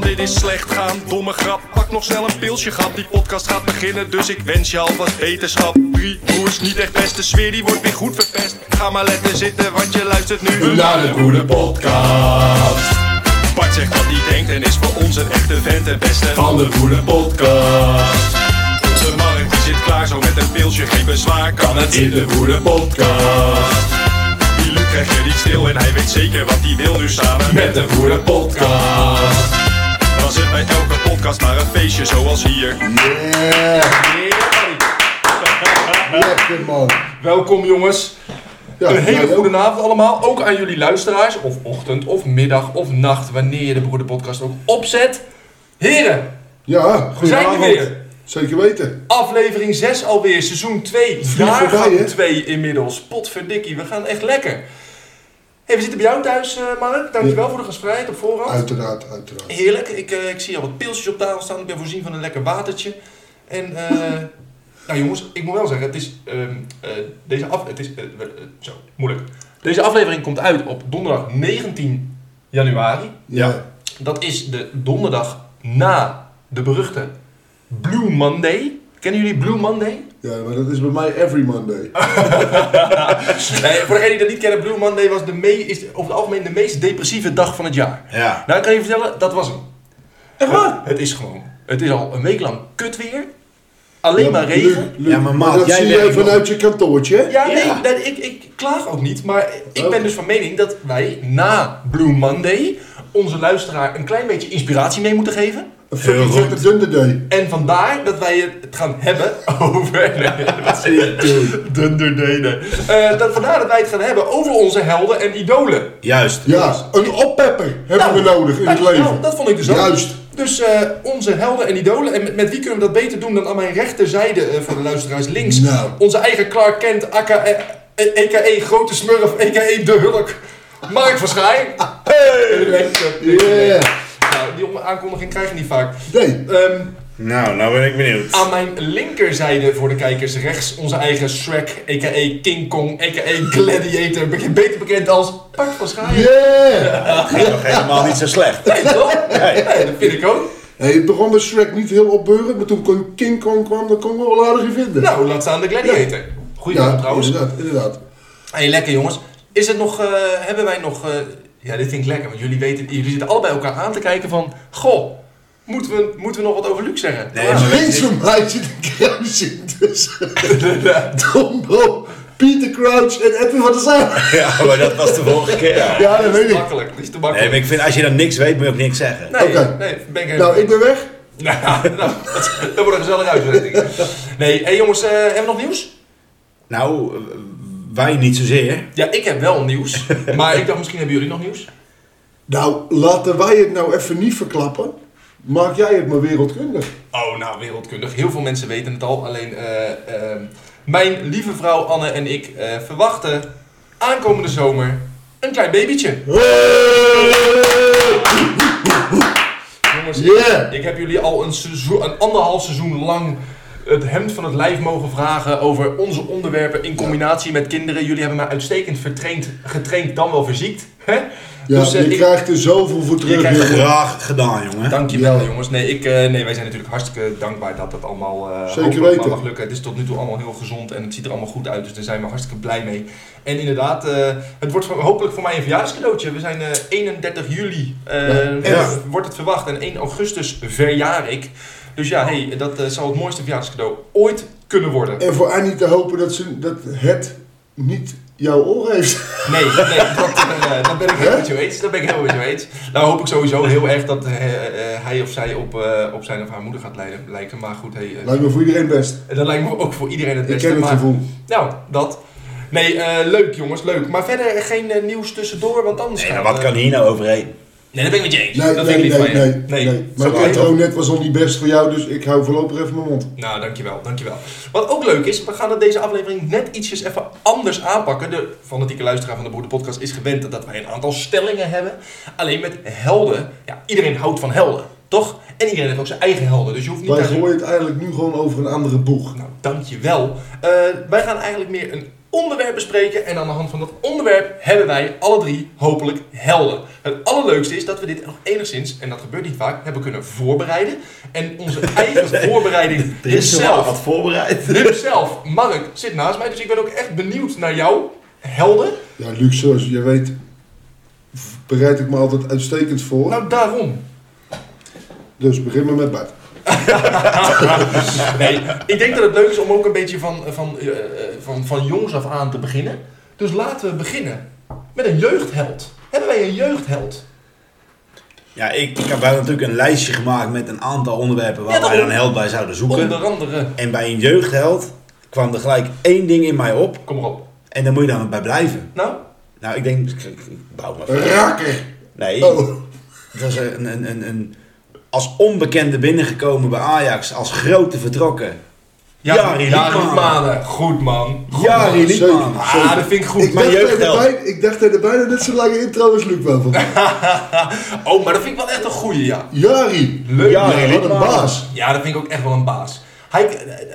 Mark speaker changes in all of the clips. Speaker 1: dit is slecht gaan. Domme grap, pak nog snel een pilsje gat. Die podcast gaat beginnen, dus ik wens je alvast beterschap. Drie broers, niet echt beste sfeer, die wordt weer goed verpest. Ga maar letten zitten, want je luistert nu naar de Broeder Podcast. Bart zegt wat hij denkt en is voor ons een echte vent en beste van de Broeder Podcast. Onze markt die zit klaar, zo met een pilsje, geen bezwaar. Kan het in de Broeder Podcast. Die Luc krijgt je niet stil en hij weet zeker wat hij wil nu samen met de Broeder Podcast. Dan zit bij elke podcast maar een feestje zoals hier.
Speaker 2: Yeah, lekker man.
Speaker 3: Welkom jongens.
Speaker 2: Ja,
Speaker 3: Een hele
Speaker 2: jij ook?
Speaker 3: goede avond allemaal. Ook aan jullie luisteraars. Of ochtend, of middag, of nacht. Wanneer je de Broederpodcast ook opzet. Heren,
Speaker 2: Ja,
Speaker 3: we zijn er
Speaker 2: goedenavond.
Speaker 3: weer.
Speaker 2: Zeker weten.
Speaker 3: Aflevering 6 alweer. Seizoen 2.
Speaker 2: voorbij, hè?
Speaker 3: Jaargang 2 inmiddels. Potverdikkie, we gaan echt lekker. hey, we zitten bij jou thuis eh, Mark. Dankjewel voor de gastvrijheid op voorhand.
Speaker 2: Uiteraard, uiteraard.
Speaker 3: Heerlijk. Ik, eh, ik zie al wat pilsjes op tafel staan. Ik ben voorzien van een lekker watertje. En, eh, nou jongens, ik moet wel zeggen, het is, ehm, eh, deze af, het is, eh, we- eh, zo, moeilijk. Deze aflevering komt uit op donderdag 19 januari.
Speaker 2: Ja.
Speaker 3: Dat is de donderdag na de beruchte Blue Monday. Kennen jullie Blue Monday?
Speaker 2: Ja, maar dat is bij mij every Monday.
Speaker 3: Ah, Nee, Eh, voor degenen die dat niet kennen, Blue Monday was de me- is over het algemeen de meest depressieve dag van het jaar.
Speaker 2: Ja.
Speaker 3: Nou, ik kan je vertellen, dat was hem. Echt waar? Het is gewoon. Het is al een week lang kut weer. Alleen maar regen.
Speaker 4: Ja, maar maat,
Speaker 2: dat
Speaker 4: jij
Speaker 2: zie
Speaker 4: werkt
Speaker 2: je vanuit je kantoortje. hè?
Speaker 3: Ja, nee,
Speaker 4: Ja.
Speaker 3: nee, ik, ik klaag ook niet. Maar ik
Speaker 2: Oh.
Speaker 3: ben dus van mening dat wij na Blue Monday onze luisteraar een klein beetje inspiratie mee moeten geven.
Speaker 2: Een fucking
Speaker 4: Heel
Speaker 2: vette dunde day.
Speaker 3: En vandaar dat wij het gaan hebben over. Nee, dat is Dunderdenen. Eh, dat vandaar dat wij het gaan hebben over onze helden en idolen.
Speaker 4: Juist.
Speaker 2: Ja, een oppepper hebben we
Speaker 3: Nou,
Speaker 2: nodig in het
Speaker 3: dankjewel.
Speaker 2: leven.
Speaker 3: dat vond ik dus ook.
Speaker 2: Juist.
Speaker 3: Dus eh, onze helden en idolen. En met, met wie kunnen we dat beter doen dan aan mijn rechterzijde eh, van de luisteraars links?
Speaker 2: Nou.
Speaker 3: Onze eigen Clark Kent, aka, eh, eh, a.k.a. Grote Smurf, a.k.a. De Hulk. Mark van Schaai. Hey!
Speaker 2: Yeah.
Speaker 3: Nou, die aankondiging krijg je niet vaak.
Speaker 2: Nee.
Speaker 3: Ehm,
Speaker 4: Nou, nou ben ik benieuwd.
Speaker 3: aan mijn linkerzijde voor de kijkers rechts onze eigen Shrek, a.k.a. King Kong, a.k.a. Gladiator. beke- Beter bekend als Park van Schaai.
Speaker 2: Yeah.
Speaker 4: Nog helemaal niet zo slecht.
Speaker 3: Nee, toch? Nee, dat vind ik ook.
Speaker 2: Hey, het begon met Shrek niet heel opbeurend, maar toen King Kong kwam, dan kon ik me wel aardig in vinden.
Speaker 3: Nou, laat staan de Gladiator. Goeie naam
Speaker 2: ja,
Speaker 3: trouwens.
Speaker 2: inderdaad, inderdaad.
Speaker 3: hey, lekker jongens. Is het nog, eh, hebben wij nog, eh, ja dit vind ik lekker, want jullie weten, jullie zitten allebei elkaar aan te kijken van, goh, moeten we, moeten we nog wat over Luc zeggen?
Speaker 4: Nee,
Speaker 3: Ja.
Speaker 4: maar-
Speaker 2: Links van mij zit een kruis in tussen Dombo, dus Peter Crouch en Edwin van der Sar.
Speaker 4: Ja, maar dat was de vorige keer. Nee,
Speaker 2: Ja, dat weet
Speaker 3: te
Speaker 2: ik.
Speaker 3: makkelijk, dat is te
Speaker 4: maar
Speaker 3: makkelijk.
Speaker 4: ik vind als je dan niks weet, moet je ook niks zeggen.
Speaker 3: Nee,
Speaker 2: Oké.
Speaker 3: nee, ben ik helemaal-
Speaker 2: Nou, ik ben weg.
Speaker 3: Nou, nou, dat, dat wordt een gezellige uitzending. Nee, hey jongens, eh, hebben we nog nieuws?
Speaker 4: Nou, eh, wij niet zozeer.
Speaker 3: Ja, ik heb wel nieuws, maar ik dacht misschien hebben jullie nog nieuws.
Speaker 2: Nou, laten wij het nou even niet verklappen. Maak jij het maar wereldkundig.
Speaker 3: Oh, nou, wereldkundig. Heel veel mensen weten het al. Alleen, eh, eh, mijn lieve vrouw Anne en ik eh, verwachten aankomende zomer een klein babytje. Jongens, ik-
Speaker 2: Yeah.
Speaker 3: ik heb jullie al een, seizoen, een anderhalf seizoen lang het hemd van het lijf mogen vragen over onze onderwerpen in combinatie met kinderen. Jullie hebben mij uitstekend vertraind, getraind, dan wel verziekt. Hè?
Speaker 2: Ja,
Speaker 3: Dus, eh,
Speaker 2: je
Speaker 3: ik-
Speaker 2: krijgt er zoveel voor terug.
Speaker 3: krijgt
Speaker 2: jongen.
Speaker 4: Graag gedaan, jongen.
Speaker 3: Dankjewel
Speaker 2: Ja.
Speaker 3: jongens. Nee, ik, eh, nee, wij zijn natuurlijk hartstikke dankbaar dat dat allemaal eh,
Speaker 2: Zeker
Speaker 3: hopelijk maar
Speaker 2: weten.
Speaker 3: mag lukken. Het is tot nu toe allemaal heel gezond en het ziet er allemaal goed uit. Dus daar zijn we hartstikke blij mee. En inderdaad, eh, het wordt voor- hopelijk voor mij een verjaarscadeautje. We zijn eh, 31 juli, eh,
Speaker 2: Ja, echt.
Speaker 3: wordt het verwacht. En 1 augustus verjaar ik. Dus ja, hey, dat eh, zal het mooiste verjaarscadeau ooit kunnen worden.
Speaker 2: En voor Annie te hopen dat, ze, dat het niet jouw oor heeft.
Speaker 3: Nee, nee dat, eh, dat ben ik helemaal met jou eens. Dat ben ik helemaal met jou eens. Nou hoop ik sowieso heel erg dat eh, eh, hij of zij op, eh, op zijn of haar moeder gaat leiden, lijken. Maar goed, hey, eh,
Speaker 2: Lijkt me voor iedereen best.
Speaker 3: dat lijkt me ook voor iedereen het
Speaker 2: Ik
Speaker 3: beste.
Speaker 2: ken het
Speaker 3: maar-
Speaker 2: gevoel.
Speaker 3: Nou, dat. Nee, eh, leuk jongens, leuk. Maar verder geen eh, nieuws tussendoor, want anders
Speaker 4: Nee, maar
Speaker 3: gaat,
Speaker 4: wat
Speaker 3: eh,
Speaker 4: kan hier nou overheen?
Speaker 3: Nee, dat ben ik met je eens.
Speaker 2: Nee,
Speaker 3: dat
Speaker 2: nee,
Speaker 3: vind
Speaker 2: nee,
Speaker 3: ik niet
Speaker 2: nee,
Speaker 3: van je.
Speaker 2: nee, Maar
Speaker 3: zo
Speaker 2: het
Speaker 3: kan je.
Speaker 2: intro net was al niet best voor jou, dus ik hou voorlopig even mijn mond.
Speaker 3: Nou, dankjewel, dankjewel. Wat ook leuk is, we gaan het deze aflevering net ietsjes even anders aanpakken. De fanatieke luisteraar van de Broeder Podcast is gewend dat wij een aantal stellingen hebben. Alleen met helden, ja, iedereen houdt van helden, toch? En iedereen heeft ook zijn eigen helden, dus je hoeft niet...
Speaker 2: Wij
Speaker 3: naar-
Speaker 2: gooien het eigenlijk nu gewoon over een andere boeg.
Speaker 3: Nou, dankjewel. Eh wij gaan eigenlijk meer een onderwerp bespreken. En aan de hand van dat onderwerp hebben wij alle drie hopelijk helden. Het allerleukste is dat we dit nog enigszins, en dat gebeurt niet vaak, hebben kunnen voorbereiden. En onze eigen voorbereiding
Speaker 4: Er is
Speaker 3: zelf.
Speaker 4: zelf wat voorbereid.
Speaker 3: Rip zelf, Mark zit naast mij, dus ik ben ook echt benieuwd naar jou. Helden.
Speaker 2: Ja, Luc, zoals je weet, bereid ik me altijd uitstekend voor.
Speaker 3: Nou, daarom.
Speaker 2: Dus begin maar met Bart.
Speaker 3: Dus, Nee, ik denk dat het leuk is om ook een beetje van, van, eh, eh, van, van jongs af aan te beginnen. Dus laten we beginnen met een jeugdheld. Hebben wij een jeugdheld?
Speaker 4: Ja, ik, ik heb wel natuurlijk een lijstje gemaakt met een aantal onderwerpen waar
Speaker 3: Ja,
Speaker 4: wij
Speaker 3: daarom.
Speaker 4: dan held bij zouden zoeken.
Speaker 3: Onder andere.
Speaker 4: En bij een jeugdheld kwam er gelijk één ding in mij op.
Speaker 3: Kom maar op.
Speaker 4: En daar moet je dan bij blijven.
Speaker 3: Nou,
Speaker 4: Nou, ik denk, ik- ik- ik bouw maar.
Speaker 2: Rakker!
Speaker 4: Nee,
Speaker 2: Oh.
Speaker 4: het was een, een, een, een, als onbekende binnengekomen bij Ajax, als grote vertrokken. Jari Liedmanen.
Speaker 3: Liedmanen. Goed man. Goed man.
Speaker 4: Jari
Speaker 2: zeker.
Speaker 4: Liedman.
Speaker 3: Ah, dat vind ik goed.
Speaker 2: Ik
Speaker 4: Mijn
Speaker 2: dacht, dat
Speaker 4: jeugdheld.
Speaker 2: er bijna, ik dacht dat er bijna net zo lange intro als Luc wel van.
Speaker 3: Oh, maar dat vind ik wel echt een goeie, ja.
Speaker 2: Jari!
Speaker 3: Leuk.
Speaker 4: Ja,
Speaker 3: man.
Speaker 2: Ja, wat een
Speaker 4: Liedmanen.
Speaker 2: baas.
Speaker 3: Ja, dat vind ik ook echt wel een baas. Hij, eh, eh,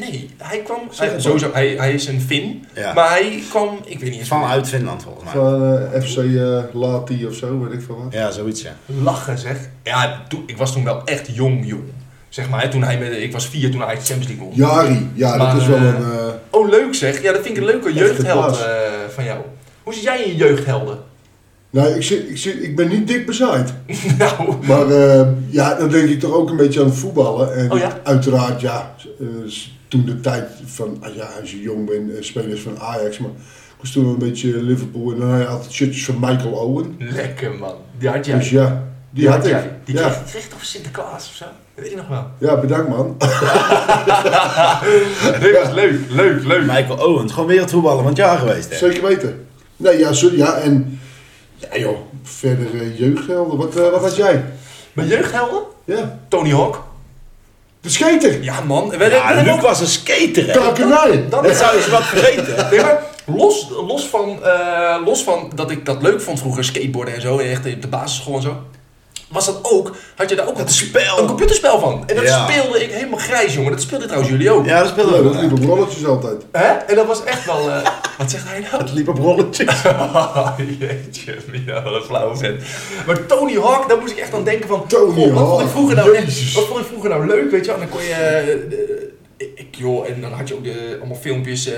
Speaker 3: nee, hij kwam.
Speaker 4: Zeg
Speaker 3: hij,
Speaker 4: het
Speaker 3: sowieso, hij, hij is een Fin.
Speaker 4: Ja.
Speaker 3: Maar hij kwam. Ik weet niet eens.
Speaker 4: Vanuit Finland volgens mij.
Speaker 2: Van eh, FC eh, Lati of zo, weet ik veel wat.
Speaker 4: Ja, zoiets ja.
Speaker 3: Lachen zeg. Ja, toen, ik was toen wel echt jong, jong. Zeg maar, hè, toen hij met, ik was vier toen hij de Champions League won.
Speaker 2: Jari, ja,
Speaker 3: Maar,
Speaker 2: dat is wel
Speaker 3: eh,
Speaker 2: een... eh,
Speaker 3: Oh, leuk zeg. Ja, dat vind ik een leuke
Speaker 2: Echt een
Speaker 3: jeugdheld
Speaker 2: baas.
Speaker 3: eh, van jou. Hoe zit jij in je jeugdhelden?
Speaker 2: nou, ik, zit, ik, zit, ik ben niet dik bezaaid.
Speaker 3: nou,
Speaker 2: Maar eh, ja, dan denk ik toch ook een beetje aan het voetballen. En
Speaker 3: Oh ja?
Speaker 2: uiteraard, ja, eh, s- toen de tijd van, ah ja, als je jong bent, eh, spelers van Ajax. Maar ik was toen wel een beetje Liverpool en dan had je altijd shirtjes van Michael Owen.
Speaker 3: lekker man. Die had jij.
Speaker 2: Dus ja, die, had, ik.
Speaker 3: jij. Die
Speaker 2: ja.
Speaker 3: kreeg, kreeg toch Sinterklaas of zo? Dat weet ik nog wel.
Speaker 2: ja, bedankt man.
Speaker 3: Leuk, leuk, leuk, leuk.
Speaker 4: Michael Owens, gewoon wereldvoetballer van het jaar geweest hè.
Speaker 2: Zeker weten. Nee, ja, zo, ja en ja, joh, verder eh, jeugdhelden. Wat, eh, wat had jij?
Speaker 3: Mijn jeugdhelden?
Speaker 2: Ja,
Speaker 3: Tony Hawk.
Speaker 2: de scheter.
Speaker 3: Ja man. We, we- we
Speaker 4: Ja,
Speaker 3: hebben
Speaker 4: Luc
Speaker 3: ook-
Speaker 4: was een skater hè.
Speaker 2: Kalkenij.
Speaker 3: dat-
Speaker 4: Dat zou je eens wat vergeten. hè.
Speaker 3: Nee, maar los, los, van, eh, los van dat ik dat leuk vond vroeger, skateboarden en zo, echt op de basisschool en zo. Was dat ook, had je daar ook een,
Speaker 4: spel.
Speaker 3: een computerspel van. En dat
Speaker 4: Ja.
Speaker 3: speelde ik helemaal grijs, jongen. Dat speelde trouwens jullie ook.
Speaker 4: Ja, dat speelde
Speaker 2: Ja,
Speaker 4: we
Speaker 2: dat
Speaker 4: wel.
Speaker 2: liep op rolletjes altijd.
Speaker 3: Hè? En dat was echt wel... eh, wat zegt hij nou?
Speaker 4: Het liep op rolletjes.
Speaker 3: Oh, jeetje, Mina, wat een flauwe vent. Maar Tony Hawk, daar moest ik echt aan denken van...
Speaker 2: Tony
Speaker 3: goh, wat vond ik
Speaker 2: Hawk,
Speaker 3: vroeger nou echt,
Speaker 2: jezus.
Speaker 3: Wat vond ik vroeger nou leuk, weet je wel? En dan kon je... eh, de- ik, joh, en dan had je ook de, allemaal filmpjes, eh,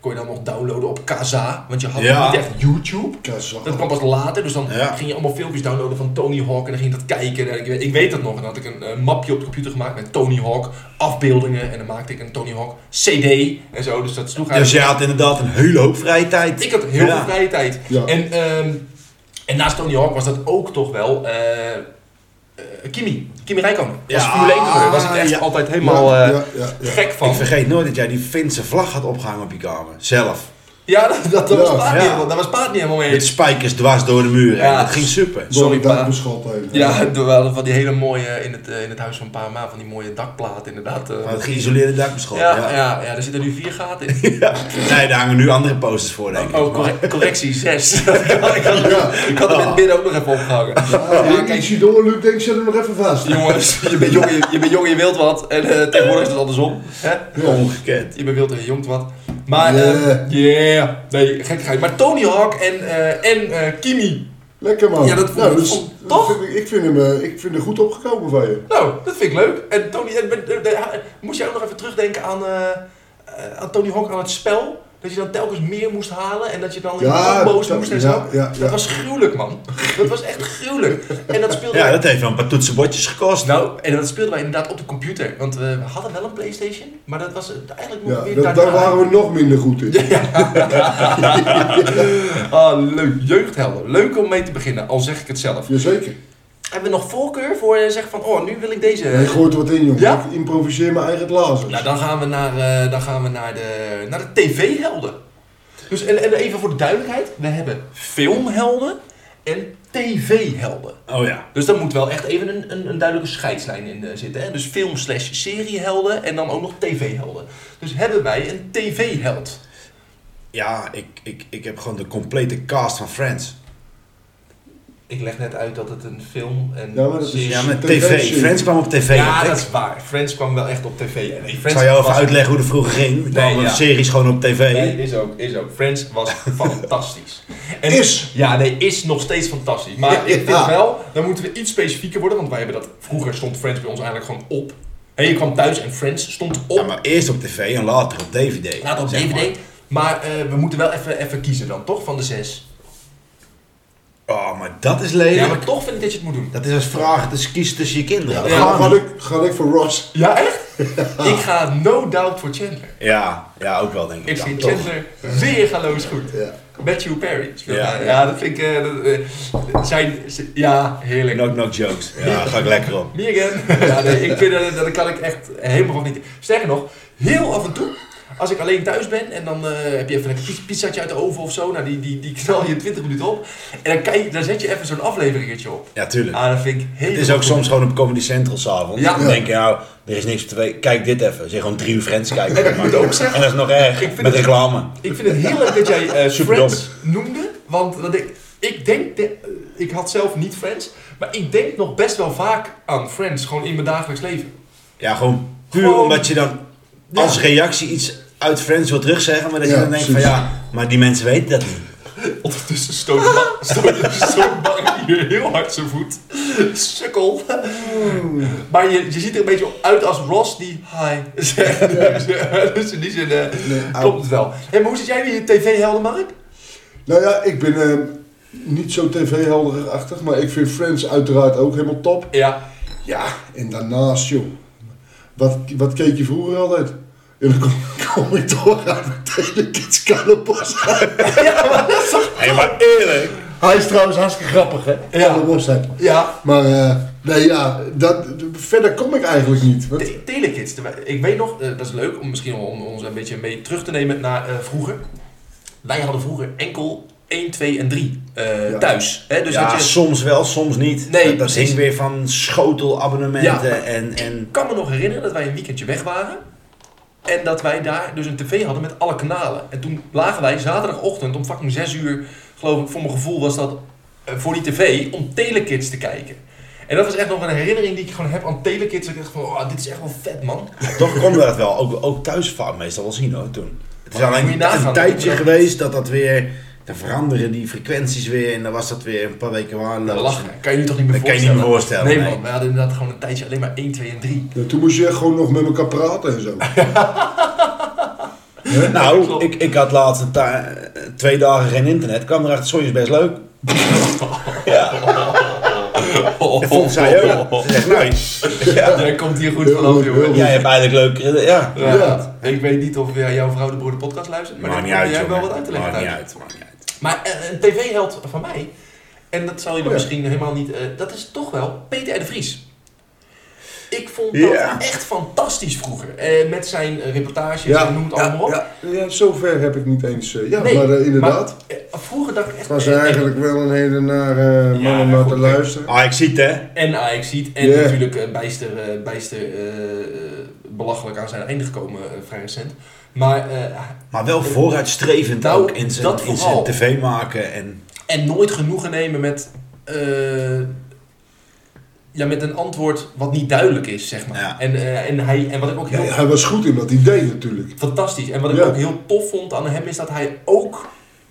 Speaker 3: kon je dan nog downloaden op Kaza. Want je had
Speaker 4: Ja.
Speaker 3: nog niet echt YouTube.
Speaker 2: Kazal.
Speaker 3: Dat kwam pas later, dus dan
Speaker 4: Ja.
Speaker 3: ging je allemaal filmpjes downloaden van Tony Hawk en dan ging je dat kijken. En ik, weet- ik weet dat nog, en dan had ik een eh, mapje op de computer gemaakt met Tony Hawk, afbeeldingen. En dan maakte ik een Tony Hawk CD en zo, dus dat sloeg
Speaker 4: Dus
Speaker 3: eigenlijk...
Speaker 4: je had inderdaad een hele hoop vrije tijd.
Speaker 3: Ik had heel
Speaker 4: Ja.
Speaker 3: veel vrije tijd.
Speaker 2: Ja.
Speaker 3: En, ehm, en naast Tony Hawk was dat ook toch wel eh, eh, Kimi. Kimi Räikkönen. Als
Speaker 4: Ja.
Speaker 3: Formule 1 coureur was ik echt
Speaker 4: Ja.
Speaker 3: altijd helemaal
Speaker 2: Ja,
Speaker 3: eh,
Speaker 2: ja, ja, ja.
Speaker 3: gek van.
Speaker 4: Ik vergeet nooit dat jij die Finse vlag had opgehangen op je kamer. Zelf.
Speaker 3: Ja, dat, dat,
Speaker 2: Ja,
Speaker 3: was Paat
Speaker 4: ja.
Speaker 3: niet helemaal, daar was Paat niet helemaal mee.
Speaker 4: Met spijkers dwars door de muur.
Speaker 3: Ja.
Speaker 4: Ja. Dat ging super.
Speaker 2: Door
Speaker 3: Sorry,
Speaker 2: een
Speaker 3: pa.
Speaker 2: dakbeschot heen.
Speaker 3: Ja, we hadden van die hele mooie, in het, eh, in het huis van Pa Ma, van die mooie dakplaten inderdaad. eh.
Speaker 2: Oh,
Speaker 4: Van het geïsoleerde dakbeschot.
Speaker 3: ja,
Speaker 4: Ja,
Speaker 3: ja. ja, daar zitten nu vier gaten in.
Speaker 4: Nee, daar hangen nu andere posters voor, denk ik.
Speaker 3: Oh, corre- correctie, zes. ik had, ik had, ik had het net midden ook nog even opgehangen.
Speaker 2: Ja, kijk, zie door, Luc, denk, zet hem nog even vast.
Speaker 3: Jongens, je bent jong, je, je bent jong en je wilt wat. En eh, tegenwoordig is het andersom. Hè?
Speaker 4: Ongekend.
Speaker 3: Je bent wild en je jongt wat. Maar, eh
Speaker 2: Yeah.
Speaker 3: yeah. nee, gekkigheid. Maar Tony Hawk en, eh, en eh, Kimi.
Speaker 2: Lekker man.
Speaker 3: Ja, dat vond ik-
Speaker 2: is-
Speaker 3: vond- toch?
Speaker 2: vind ik, ik vind hem, eh, ik vind hem goed opgekomen van je.
Speaker 3: Nou, dat vind ik leuk. En Tony, en, en- en- en- moest jij ook nog even terugdenken aan, eh, eh, aan Tony Hawk, aan het spel? Dat je dan telkens meer moest halen en dat je dan
Speaker 2: Ja,
Speaker 3: in combo's
Speaker 2: dat-
Speaker 3: moest en
Speaker 2: ja,
Speaker 3: zo.
Speaker 2: ja, ja.
Speaker 3: Dat was gruwelijk, man. Dat was echt gruwelijk. En dat speelde
Speaker 4: Ja, dat heeft wel een paar toetsenbordjes gekost.
Speaker 3: Nou, en dat speelden wij inderdaad op de computer. Want eh, we hadden wel een Playstation, maar dat was eh, eigenlijk nog
Speaker 2: Ja,
Speaker 3: weer
Speaker 2: dat, daar waren we nog minder goed in.
Speaker 3: Ah, leuk. Jeugdhelden. Leuk om mee te beginnen, al zeg ik het zelf.
Speaker 2: Jazeker.
Speaker 3: Hebben we nog voorkeur voor eh, zeggen van, oh, nu wil ik deze...
Speaker 2: Hij gooit wat in, jongen.
Speaker 3: Ja?
Speaker 2: Ik improviseer mijn eigen glazen.
Speaker 3: Nou, dan gaan we naar, eh, dan gaan we naar de, naar de tv-helden. Dus en, en even voor de duidelijkheid, we hebben filmhelden en tv-helden.
Speaker 4: Oh ja.
Speaker 3: Dus daar moet wel echt even een, een, een duidelijke scheidslijn in eh, zitten. Hè? Dus film slash seriehelden en dan ook nog tv-helden. Dus hebben wij een tv-held.
Speaker 4: Ja, ik, ik, ik heb gewoon de complete cast van Friends.
Speaker 3: Ik leg net uit dat het een film en
Speaker 2: Ja, maar dat is-
Speaker 3: serie-
Speaker 4: Ja, maar
Speaker 2: TV
Speaker 4: tv.
Speaker 2: serie.
Speaker 4: Friends kwam op tv.
Speaker 3: Dus Ja,
Speaker 4: op, hè?
Speaker 3: dat is waar. Friends kwam wel echt op tv. En nee,
Speaker 4: Ik
Speaker 3: Friends
Speaker 4: zal jou even
Speaker 3: was-
Speaker 4: uitleggen hoe het vroeger ging. Er kwamen
Speaker 3: Nee, ja.
Speaker 4: series gewoon op tv.
Speaker 3: Nee, is ook, is ook. Friends was fantastisch. En
Speaker 2: Is.
Speaker 3: Ja, nee, is nog steeds fantastisch. Maar
Speaker 2: Ja,
Speaker 3: ik vind
Speaker 2: ja.
Speaker 3: wel, dan moeten we iets specifieker worden, want wij hebben dat, vroeger stond Friends bij ons eigenlijk gewoon op. En je kwam thuis en Friends stond op.
Speaker 4: Ja, maar eerst op tv en later op DVD.
Speaker 3: Laat op
Speaker 4: zeg maar.
Speaker 3: DVD. Maar eh, we moeten wel even, even kiezen dan, toch? Van de zes.
Speaker 4: Oh, maar dat is lelijk.
Speaker 3: Ja, maar toch vind ik dat je het moet doen.
Speaker 4: Dat is als vraag dus kies tussen je kinderen.
Speaker 2: Ja,
Speaker 4: Dat
Speaker 2: Ga,
Speaker 4: gaat
Speaker 2: ga
Speaker 4: niet.
Speaker 2: ik, ga ik voor Ross.
Speaker 3: Ja, echt? ik ga no doubt voor Chandler.
Speaker 4: ja, ja, ook wel denk ik.
Speaker 3: Ik
Speaker 4: Ja,
Speaker 3: vind
Speaker 4: toch.
Speaker 3: Chandler weer galoos goed.
Speaker 2: Ja.
Speaker 3: Matthew Perry. speelt
Speaker 4: Ja.
Speaker 3: daar. ja, dat vind ik... eh, dat, eh, zijn, zijn- ja, heerlijk.
Speaker 4: Knock knock jokes. Ja, daar ga ik lekker op.
Speaker 3: Me again. Ja, nee, ik vind, eh, dat kan ik echt helemaal van niet. Sterker nog, heel af en toe, als ik alleen thuis ben en dan eh, heb je even een pis- pizzatje uit de oven of zo, nou, die, die, die knal je 20 minuten op. En dan, kijk, dan zet je even zo'n afleveringetje op.
Speaker 4: Ja, tuurlijk.
Speaker 3: Ah, dat vind ik helemaal
Speaker 4: Het is ook
Speaker 3: goed.
Speaker 4: soms gewoon op Comedy Central s'avonds.
Speaker 3: Ja.
Speaker 4: Dan denk je nou, er is niks op tv. Kijk dit even. Zeg gewoon drie uur Friends kijken.
Speaker 3: ik moet ook zeggen-
Speaker 4: en dat is nog erg.
Speaker 3: Ik vind
Speaker 4: Met
Speaker 3: het-
Speaker 4: reclame.
Speaker 3: Ik vind het heel leuk dat jij eh,
Speaker 4: Superdom.
Speaker 3: Friends noemde, want dat ik, ik denk, de- eh, ik had zelf niet Friends, maar ik denk nog best wel vaak aan Friends, gewoon in mijn dagelijks leven.
Speaker 4: Ja, gewoon puur
Speaker 3: Gewoon-
Speaker 4: omdat je dan
Speaker 3: Ja.
Speaker 4: als reactie iets uit Friends wil terugzeggen. Maar dat je
Speaker 2: Ja,
Speaker 4: dan denkt van
Speaker 2: precies.
Speaker 4: ja, maar die mensen weten dat niet.
Speaker 3: Ondertussen stoot Ba- stoot- stoot Barry hier heel hard zijn voet. Sukkel. Maar je, je ziet er een beetje uit als Ross die hi zegt. Dus, eh, Dus in die zin eh, klopt het wel. Hé, maar hoe zit jij weer je tv-helden, Mark?
Speaker 2: Nou ja, ik ben eh, niet zo tv-helderachtig, maar ik vind Friends uiteraard ook helemaal top.
Speaker 3: Ja.
Speaker 2: Ja, en daarnaast, joh. Wat, wat keek je vroeger altijd? En dan kom, kom ik toch uit mijn telekids Cannabos uit.
Speaker 4: Hé, maar eerlijk.
Speaker 2: Hij is trouwens hartstikke grappig, hè?
Speaker 3: Ja.
Speaker 2: Cannabos uit.
Speaker 3: Ja.
Speaker 2: Maar, eh, nee ja, dat, verder kom ik eigenlijk niet. Want,
Speaker 3: Te- Telekids. terwijl- Ik weet nog, eh, dat is leuk om misschien om ons een beetje mee terug te nemen naar eh, vroeger. Wij hadden vroeger enkel 1, 2 en 3 eh,
Speaker 2: Ja.
Speaker 3: thuis. Hè? Dus
Speaker 4: ja,
Speaker 3: dat je,
Speaker 4: soms wel, soms niet.
Speaker 3: Nee,
Speaker 4: dat dat
Speaker 3: precies.
Speaker 4: hing weer van schotelabonnementen
Speaker 3: Ja.
Speaker 4: en, en...
Speaker 3: Ik kan me nog herinneren dat wij een weekendje weg waren. En dat wij daar dus een tv hadden met alle kanalen. En toen lagen wij zaterdagochtend om fucking 6 uur, geloof ik, voor mijn gevoel was dat eh, voor die tv om Telekids te kijken. En dat was echt nog een herinnering die ik gewoon heb aan Telekids. Dat ik dacht van, oh, dit is echt wel vet, man.
Speaker 4: Toch konden we dat wel, ook, ook thuis vaak meestal wel zien hoor, toen. Het is
Speaker 3: Maar moet je
Speaker 4: alleen
Speaker 3: nagaan
Speaker 4: een
Speaker 3: dat
Speaker 4: tijdje
Speaker 3: het-
Speaker 4: geweest dat dat weer... Dan veranderen die frequenties weer en dan was dat weer een paar weken waardeloos.
Speaker 3: Lachen. Kan je nu toch niet meer
Speaker 4: Dat kan je
Speaker 3: voorstellen?
Speaker 4: niet meer voorstellen,
Speaker 3: Nee,
Speaker 4: nee.
Speaker 3: man. We hadden inderdaad gewoon een tijdje alleen maar 1, 2 en 3.
Speaker 2: Ja, toen moest je echt gewoon nog met elkaar praten en zo.
Speaker 4: Nou,
Speaker 3: klopt.
Speaker 4: ik, ik had laatst een ta- twee dagen geen internet. kwam erachter, sorry, is best leuk. ja,
Speaker 3: Oh,
Speaker 4: dat vond zij ook. Ze zegt, nou,
Speaker 3: Jij komt hier goed
Speaker 2: Heel
Speaker 3: vanaf,
Speaker 2: goed, heel
Speaker 3: jongen.
Speaker 2: goed.
Speaker 4: jij hebt eigenlijk leuk. Ja.
Speaker 3: Ja.
Speaker 2: Ja.
Speaker 3: Ik weet niet of eh, jouw vrouw de Broer de podcast luistert, maar daar
Speaker 4: Maakt niet
Speaker 3: heb
Speaker 4: uit,
Speaker 3: jij wel
Speaker 4: jongen.
Speaker 3: wat uit te leggen
Speaker 4: Maakt niet
Speaker 3: thuis.
Speaker 4: uit, maakt niet uit. Oh,
Speaker 3: Maar eh, een tv-held van mij, en dat zal je dan
Speaker 2: Ja.
Speaker 3: misschien helemaal niet... eh, dat is toch wel Peter R. de Vries. Ik vond dat
Speaker 4: Ja.
Speaker 3: echt fantastisch vroeger. eh, met zijn eh, reportages en noem het allemaal op.
Speaker 2: ja, ja, zover heb ik niet eens. eh, ja,
Speaker 3: Nee,
Speaker 2: maar eh, inderdaad.
Speaker 3: maar, eh, vroeger dacht ik echt...
Speaker 2: Het was
Speaker 3: eh,
Speaker 2: eigenlijk wel een hele nare eh, man
Speaker 3: Ja,
Speaker 2: om naar
Speaker 3: goed,
Speaker 2: te
Speaker 3: ik-
Speaker 2: luisteren.
Speaker 4: Ah, ik zie het, hè.
Speaker 3: En Ajax ziet. En
Speaker 2: Ja.
Speaker 3: natuurlijk eh, bijster, eh, bijster eh, eh, belachelijk aan zijn einde gekomen eh, vrij recent. Maar, eh,
Speaker 4: Maar wel vooruitstrevend
Speaker 3: Nou,
Speaker 4: ook in zijn,
Speaker 3: dat
Speaker 4: in
Speaker 3: vooral.
Speaker 4: zijn tv maken. En,
Speaker 3: en nooit genoegen nemen met... eh, ja, met een antwoord wat niet duidelijk is, zeg maar.
Speaker 4: Ja.
Speaker 3: En, eh, en, hij, en wat ik ook
Speaker 2: Ja,
Speaker 3: heel
Speaker 2: hij was goed in dat idee natuurlijk.
Speaker 3: Fantastisch. En wat ik
Speaker 2: Ja.
Speaker 3: ook heel tof vond aan hem is dat hij ook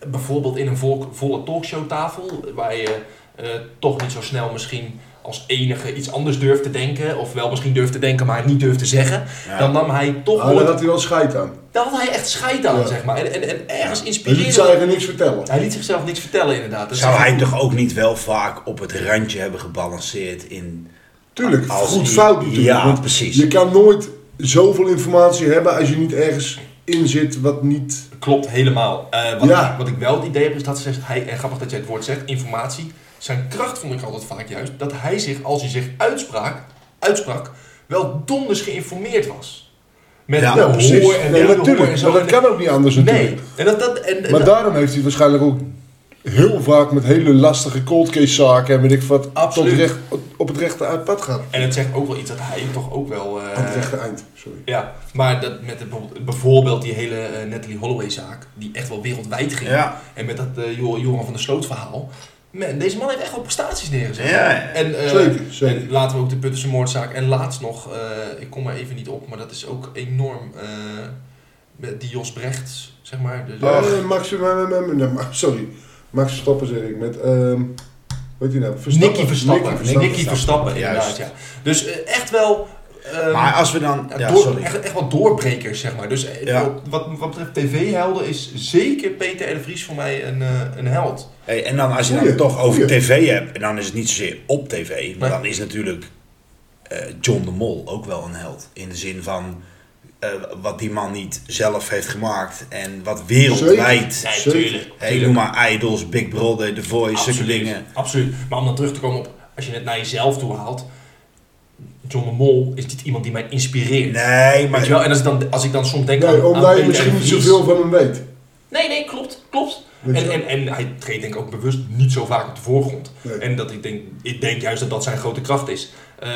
Speaker 3: bijvoorbeeld in een volk, volle talkshowtafel, waar je eh, toch niet zo snel misschien als enige iets anders durft te denken, of wel misschien durft te denken, maar het niet durft te zeggen,
Speaker 4: Ja.
Speaker 3: dan nam hij toch
Speaker 2: Maar
Speaker 3: nooit-
Speaker 2: daar had hij wel scheid aan.
Speaker 3: daar had hij echt scheid aan,
Speaker 2: Nou, Ja.
Speaker 3: zeg maar. En, en, en ergens
Speaker 2: Hij liet
Speaker 3: inspirerend.
Speaker 2: ze eigenlijk niks vertellen.
Speaker 3: Hij liet zichzelf niks vertellen, inderdaad. Dat
Speaker 4: zou
Speaker 3: is-
Speaker 4: hij toch ook niet wel vaak op het randje hebben gebalanceerd in...
Speaker 2: Tuurlijk,
Speaker 4: Als
Speaker 2: goed
Speaker 4: die-
Speaker 2: fout natuurlijk.
Speaker 4: Ja,
Speaker 2: want
Speaker 4: precies.
Speaker 2: Je kan nooit zoveel informatie hebben als je niet ergens in zit wat niet...
Speaker 3: Klopt helemaal. Eh, wat,
Speaker 2: Ja.
Speaker 3: ik, wat ik wel het idee heb is dat ze zegt, hij, en grappig dat jij het woord zegt, informatie. Zijn kracht vond ik altijd vaak juist dat hij zich, als hij zich uitspraak, uitsprak, wel donders geïnformeerd was. Met
Speaker 4: Ja,
Speaker 3: de
Speaker 2: Ja, precies.
Speaker 3: hoor en
Speaker 2: nee,
Speaker 3: de
Speaker 2: natuurlijk.
Speaker 3: hoor en
Speaker 2: maar
Speaker 3: zo.
Speaker 2: dat kan ook niet anders natuurlijk.
Speaker 3: nee, en dat, dat, en,
Speaker 2: Maar
Speaker 3: en-
Speaker 2: daarom heeft hij het waarschijnlijk ook heel vaak met hele lastige cold case zaken en weet ik wat
Speaker 3: Absoluut.
Speaker 2: Tot recht, op het rechte pad gaat.
Speaker 3: en het zegt ook wel iets dat hij toch ook wel... eh,
Speaker 2: Aan het rechte eind, sorry.
Speaker 3: ja, maar dat met de, bijvoorbeeld- bijvoorbeeld die hele eh, Natalie Holloway zaak, die echt wel wereldwijd ging.
Speaker 4: Ja.
Speaker 3: En met dat eh, Jor- Joran van der Sloot verhaal. Man, deze man heeft echt wel prestaties neergezet.
Speaker 4: Ja, ja.
Speaker 3: En, eh,
Speaker 2: Zeker, zeker.
Speaker 3: en laten we ook de Puttense moordzaak. En laatst nog, eh, ik kom er even niet op, maar dat is ook enorm. eh, met die Jos Brechts, zeg maar. De,
Speaker 2: Ja, nee, Eh, Max, maar- maar- maar- nee, maar- sorry. Max Verstappen zeg ik. Met, ehm weet je nou?
Speaker 3: Nicky Verstappen. Nicky Verstappen,
Speaker 4: Verstappen.
Speaker 3: inderdaad,
Speaker 4: Juist.
Speaker 3: ja. Dus eh, echt wel... ehm,
Speaker 4: Maar als we dan...
Speaker 3: ja,
Speaker 4: Ja,
Speaker 3: door-
Speaker 4: sorry.
Speaker 3: echt, echt wel doorbrekers, zeg maar. Dus eh,
Speaker 4: Ja.
Speaker 3: wat- wat, wat betreft tv-helden is zeker Peter R. de Vries voor mij een, eh, een held.
Speaker 4: Hey, en dan als je dan
Speaker 2: Goeie,
Speaker 4: toch over
Speaker 2: goeie.
Speaker 4: tv hebt, en dan is het niet zozeer op tv, maar
Speaker 3: Nee.
Speaker 4: dan is natuurlijk eh, John de Mol ook wel een held. In de zin van eh, wat die man niet zelf heeft gemaakt en wat wereldwijd.
Speaker 2: Zeker. Zeker.
Speaker 4: Hey, noem maar Idols, Big Brother, The Voice, zulke dingen.
Speaker 3: Absoluut. Maar om dan terug te komen op, als je het naar jezelf toe haalt... John de Mol is niet iemand die mij inspireert.
Speaker 4: Nee,
Speaker 3: Weet je
Speaker 4: maar
Speaker 3: wel? En als ik dan, als ik dan soms denk
Speaker 2: Nee,
Speaker 3: aan, aan
Speaker 2: omdat je
Speaker 3: Peter R.
Speaker 2: misschien
Speaker 3: de
Speaker 2: niet
Speaker 3: Vries-
Speaker 2: zoveel van hem weet.
Speaker 3: Nee, nee, klopt, klopt.
Speaker 2: Weet je
Speaker 3: En,
Speaker 2: wel?
Speaker 3: en, en hij treedt denk ik ook bewust niet zo vaak op de voorgrond.
Speaker 2: Nee.
Speaker 3: En dat ik denk, ik denk juist dat dat zijn grote kracht is. Eh,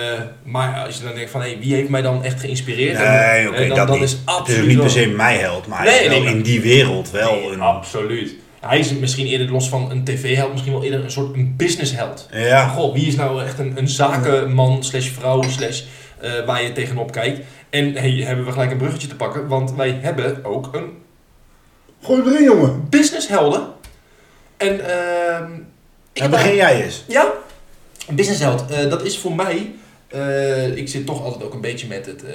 Speaker 3: maar als je dan denkt van, hé, wie heeft mij dan echt geïnspireerd?
Speaker 4: nee,
Speaker 3: En-
Speaker 4: oké,
Speaker 3: en dan,
Speaker 4: dat
Speaker 3: dan
Speaker 4: niet.
Speaker 3: is
Speaker 4: het is
Speaker 3: absoluut
Speaker 4: ook niet per
Speaker 3: wel-
Speaker 4: se mijn held, maar hij
Speaker 3: Nee,
Speaker 4: is wel
Speaker 3: nee, maar-
Speaker 4: in die wereld wel
Speaker 3: Nee,
Speaker 4: een...
Speaker 3: Absoluut. Hij is misschien eerder los van een tv-held, misschien wel eerder een soort een businessheld.
Speaker 4: Ja,
Speaker 3: Goh, wie is nou echt een, een zakenman slash vrouw slash eh, waar je tegenop kijkt? En hey, hebben we gelijk een bruggetje te pakken, want wij hebben ook een
Speaker 2: Gooi hem erin, jongen.
Speaker 3: businesshelden. En ehm ik heb
Speaker 4: dan Nou, begin jij eens.
Speaker 3: Ja, een businessheld. Eh, dat is voor mij. eh, ik zit toch altijd ook een beetje met het, eh,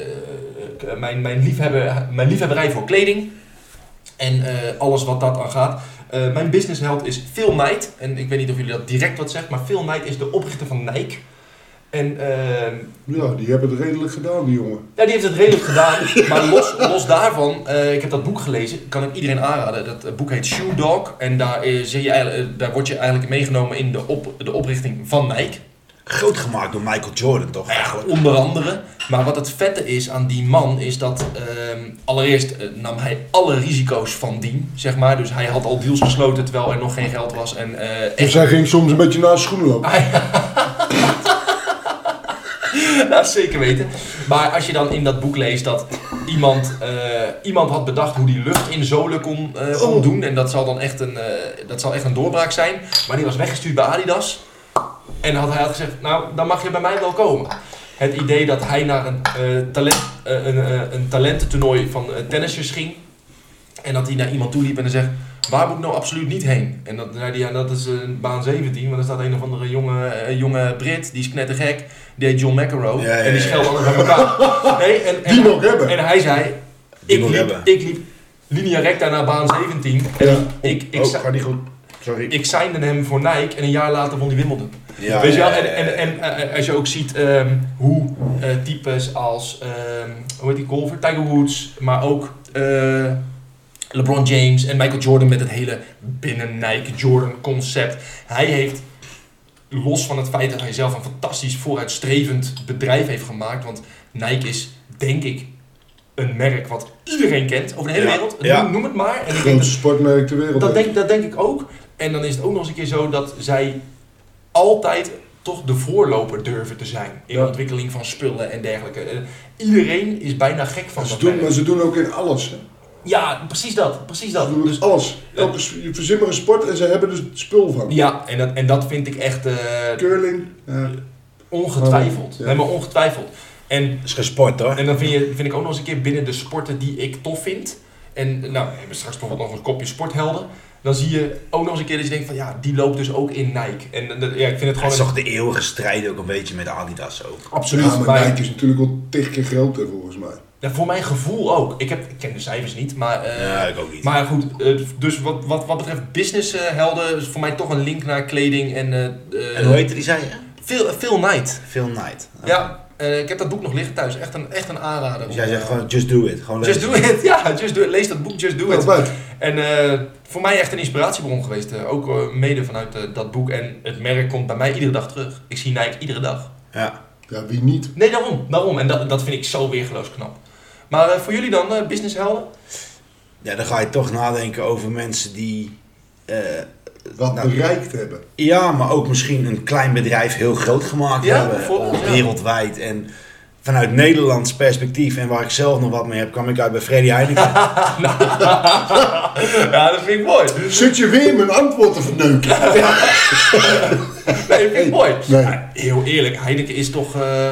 Speaker 3: k- mijn, mijn, liefhebber, mijn liefhebberij voor kleding. En eh, alles wat dat aan gaat. Eh, mijn businessheld is Phil Knight. En ik weet niet of jullie dat direct wat zegt, maar Phil Knight is de oprichter van Nike. En ehm,
Speaker 2: Ja, die hebben het redelijk gedaan, die jongen.
Speaker 3: ja, die heeft het redelijk gedaan. Maar los, los daarvan, eh, ik heb dat boek gelezen, kan ik iedereen aanraden. Dat eh, boek heet Shoe Dog. En daar, eh, zie je, eigenlijk- eh, daar word je eigenlijk meegenomen in de, op, de oprichting van Nike.
Speaker 4: Groot gemaakt door Michael Jordan toch
Speaker 3: Nou ja,
Speaker 4: eigenlijk?
Speaker 3: onder andere. Maar wat het vette is aan die man, is dat ehm, allereerst eh, nam hij alle risico's van dien, zeg maar. Dus hij had al deals gesloten terwijl er nog geen geld was. En eh,
Speaker 2: Dus
Speaker 3: echt,
Speaker 2: hij ging soms een beetje naar zijn schoenen lopen.
Speaker 3: ja, zeker weten. Maar als je dan in dat boek leest dat iemand, eh, iemand had bedacht hoe die lucht in zolen kon, eh, kon
Speaker 2: Oh.
Speaker 3: doen. En dat zal dan echt een, eh, dat zal echt een doorbraak zijn. Maar die was weggestuurd bij Adidas. En had hij had gezegd, nou, dan mag je bij mij wel komen. Het idee dat hij naar een, eh talent, eh, een, eh, een talententoernooi van eh, tennissers ging. En dat hij naar iemand toe liep en dan zegt, waar moet ik nou absoluut niet heen? En dat, zei hij, ja, dat is eh, baan 17, want er staat een of andere jonge, eh, jonge Brit, die is knettergek. Die heet John McEnroe.
Speaker 4: Ja, ja,
Speaker 3: en die
Speaker 4: ja.
Speaker 3: schelden alles bij elkaar. Nee, en, en,
Speaker 2: Die nog hebben.
Speaker 3: en hij zei,
Speaker 4: Die
Speaker 3: ik
Speaker 4: nog
Speaker 3: liep,
Speaker 4: hebben.
Speaker 3: ik liep linea recta naar baan 17. En
Speaker 2: Ja.
Speaker 3: ik, ik,
Speaker 4: Oh,
Speaker 3: sa-
Speaker 4: gaat niet goed. Sorry.
Speaker 3: ik signde hem voor Nike en een jaar later won hij Wimbledon.
Speaker 4: Ja,
Speaker 3: Weet je wel?
Speaker 4: ja,
Speaker 3: En,
Speaker 4: ja, ja.
Speaker 3: en, en eh, als je ook ziet ehm, hoe eh, types als, ehm, hoe heet die golfer? Tiger Woods, maar ook eh, LeBron James en Michael Jordan met het hele binnen Nike Jordan concept. Hij heeft, los van het feit dat hij zelf een fantastisch vooruitstrevend bedrijf heeft gemaakt, want Nike is, denk ik, een merk wat iedereen kent over de hele
Speaker 4: Ja,
Speaker 3: wereld.
Speaker 4: ja.
Speaker 3: Noem, noem het maar. En ik denk dat
Speaker 2: Grootste sportmerk ter wereld.
Speaker 3: dat denk, dat denk ik ook. En dan is het ook nog eens een keer zo dat zij altijd toch de voorloper durven te zijn. In
Speaker 2: Ja.
Speaker 3: de ontwikkeling van spullen en dergelijke. Eh, Iedereen is bijna gek van
Speaker 2: ze
Speaker 3: dat
Speaker 2: doen,
Speaker 3: merk.
Speaker 2: maar ze doen ook in alles. Hè.
Speaker 3: Ja, precies dat. Precies dat.
Speaker 2: Ze doen
Speaker 3: Dus,
Speaker 2: dus alles. Elke s- je verzimmige sport en ze hebben dus het spul van.
Speaker 3: ja, en dat, en dat vind ik echt eh,
Speaker 2: Curling. Ja.
Speaker 3: ongetwijfeld.
Speaker 2: Ja.
Speaker 3: Nee, maar ongetwijfeld. En,
Speaker 4: is geen sport hoor.
Speaker 3: en dan vind, je, vind ik ook nog eens een keer binnen de sporten die ik tof vind. En nou, we hebben straks toch wel nog een kopje sporthelden. Dan zie je ook nog eens een keer dat je denkt van ja, die loopt dus ook in Nike. En eh, ja, ik vind het
Speaker 4: Het
Speaker 3: gewoon
Speaker 4: is
Speaker 3: een-
Speaker 4: toch de eeuwige strijd ook een beetje met Adidas ook.
Speaker 3: absoluut.
Speaker 2: Ja, maar
Speaker 3: bij-
Speaker 2: Nike is natuurlijk wel tig keer groter volgens mij.
Speaker 3: Ja, voor mijn gevoel ook. Ik, heb, ik ken de cijfers niet, maar, eh,
Speaker 4: Ja, ik ook niet.
Speaker 3: maar goed. eh, dus wat, wat, wat betreft businesshelden is voor mij toch een link naar kleding en... eh,
Speaker 4: en
Speaker 3: eh,
Speaker 4: hoe heette die, zei je?
Speaker 3: Phil, Phil Knight.
Speaker 4: Phil Knight.
Speaker 3: Ja, eh, ik heb dat boek nog liggen thuis. Echt een, echt een aanrader.
Speaker 4: Dus jij zegt gewoon, just do it. Gewoon
Speaker 3: Just
Speaker 4: lezen.
Speaker 3: do it. Ja, just do it. Lees dat boek Just do it.
Speaker 2: Dat leuk.
Speaker 3: En eh, voor mij echt een inspiratiebron geweest. eh, ook eh, mede vanuit eh, dat boek. En het merk komt bij mij iedere dag terug. Ik zie Nike iedere dag.
Speaker 4: Ja.
Speaker 2: Ja, wie niet?
Speaker 3: Nee, daarom. daarom. En dat, dat vind ik zo weergeloos knap. Maar eh, voor jullie dan, eh, businesshelden?
Speaker 4: ja, dan ga je toch nadenken over mensen die... eh,
Speaker 2: Wat
Speaker 4: Nou,
Speaker 2: bereikt hebben.
Speaker 4: ja, maar ook misschien een klein bedrijf heel groot gemaakt
Speaker 3: Ja,
Speaker 4: hebben.
Speaker 3: bijvoorbeeld, ja.
Speaker 4: Wereldwijd. En vanuit Nederlands perspectief en waar ik zelf nog wat mee heb, kwam ik uit bij Freddy Heineken.
Speaker 3: Ja, dat vind ik mooi.
Speaker 2: Zit je weer mijn antwoord te verneuken?
Speaker 3: Nee, dat vind ik mooi.
Speaker 2: Nee.
Speaker 3: Maar heel eerlijk, Heineken is toch, eh,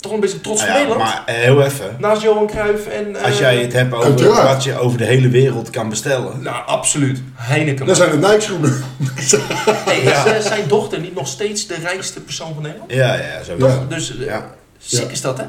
Speaker 3: toch een beetje trots
Speaker 4: Nou
Speaker 3: van
Speaker 4: ja,
Speaker 3: Nederland.
Speaker 4: maar eh, heel even.
Speaker 3: Naast Johan Cruijff en... eh,
Speaker 4: Als jij het hebt over
Speaker 2: uiteraard.
Speaker 4: wat je over de hele wereld kan bestellen.
Speaker 3: Nou, absoluut. Heineken.
Speaker 2: Dat zijn de Nike-schoenen.
Speaker 3: Hey, is eh, zijn dochter niet nog steeds de rijkste persoon van Nederland?
Speaker 4: Ja, ja, zo.
Speaker 2: Ja.
Speaker 3: Dus eh,
Speaker 4: Ja.
Speaker 3: ziek
Speaker 2: Ja.
Speaker 3: is dat, hè?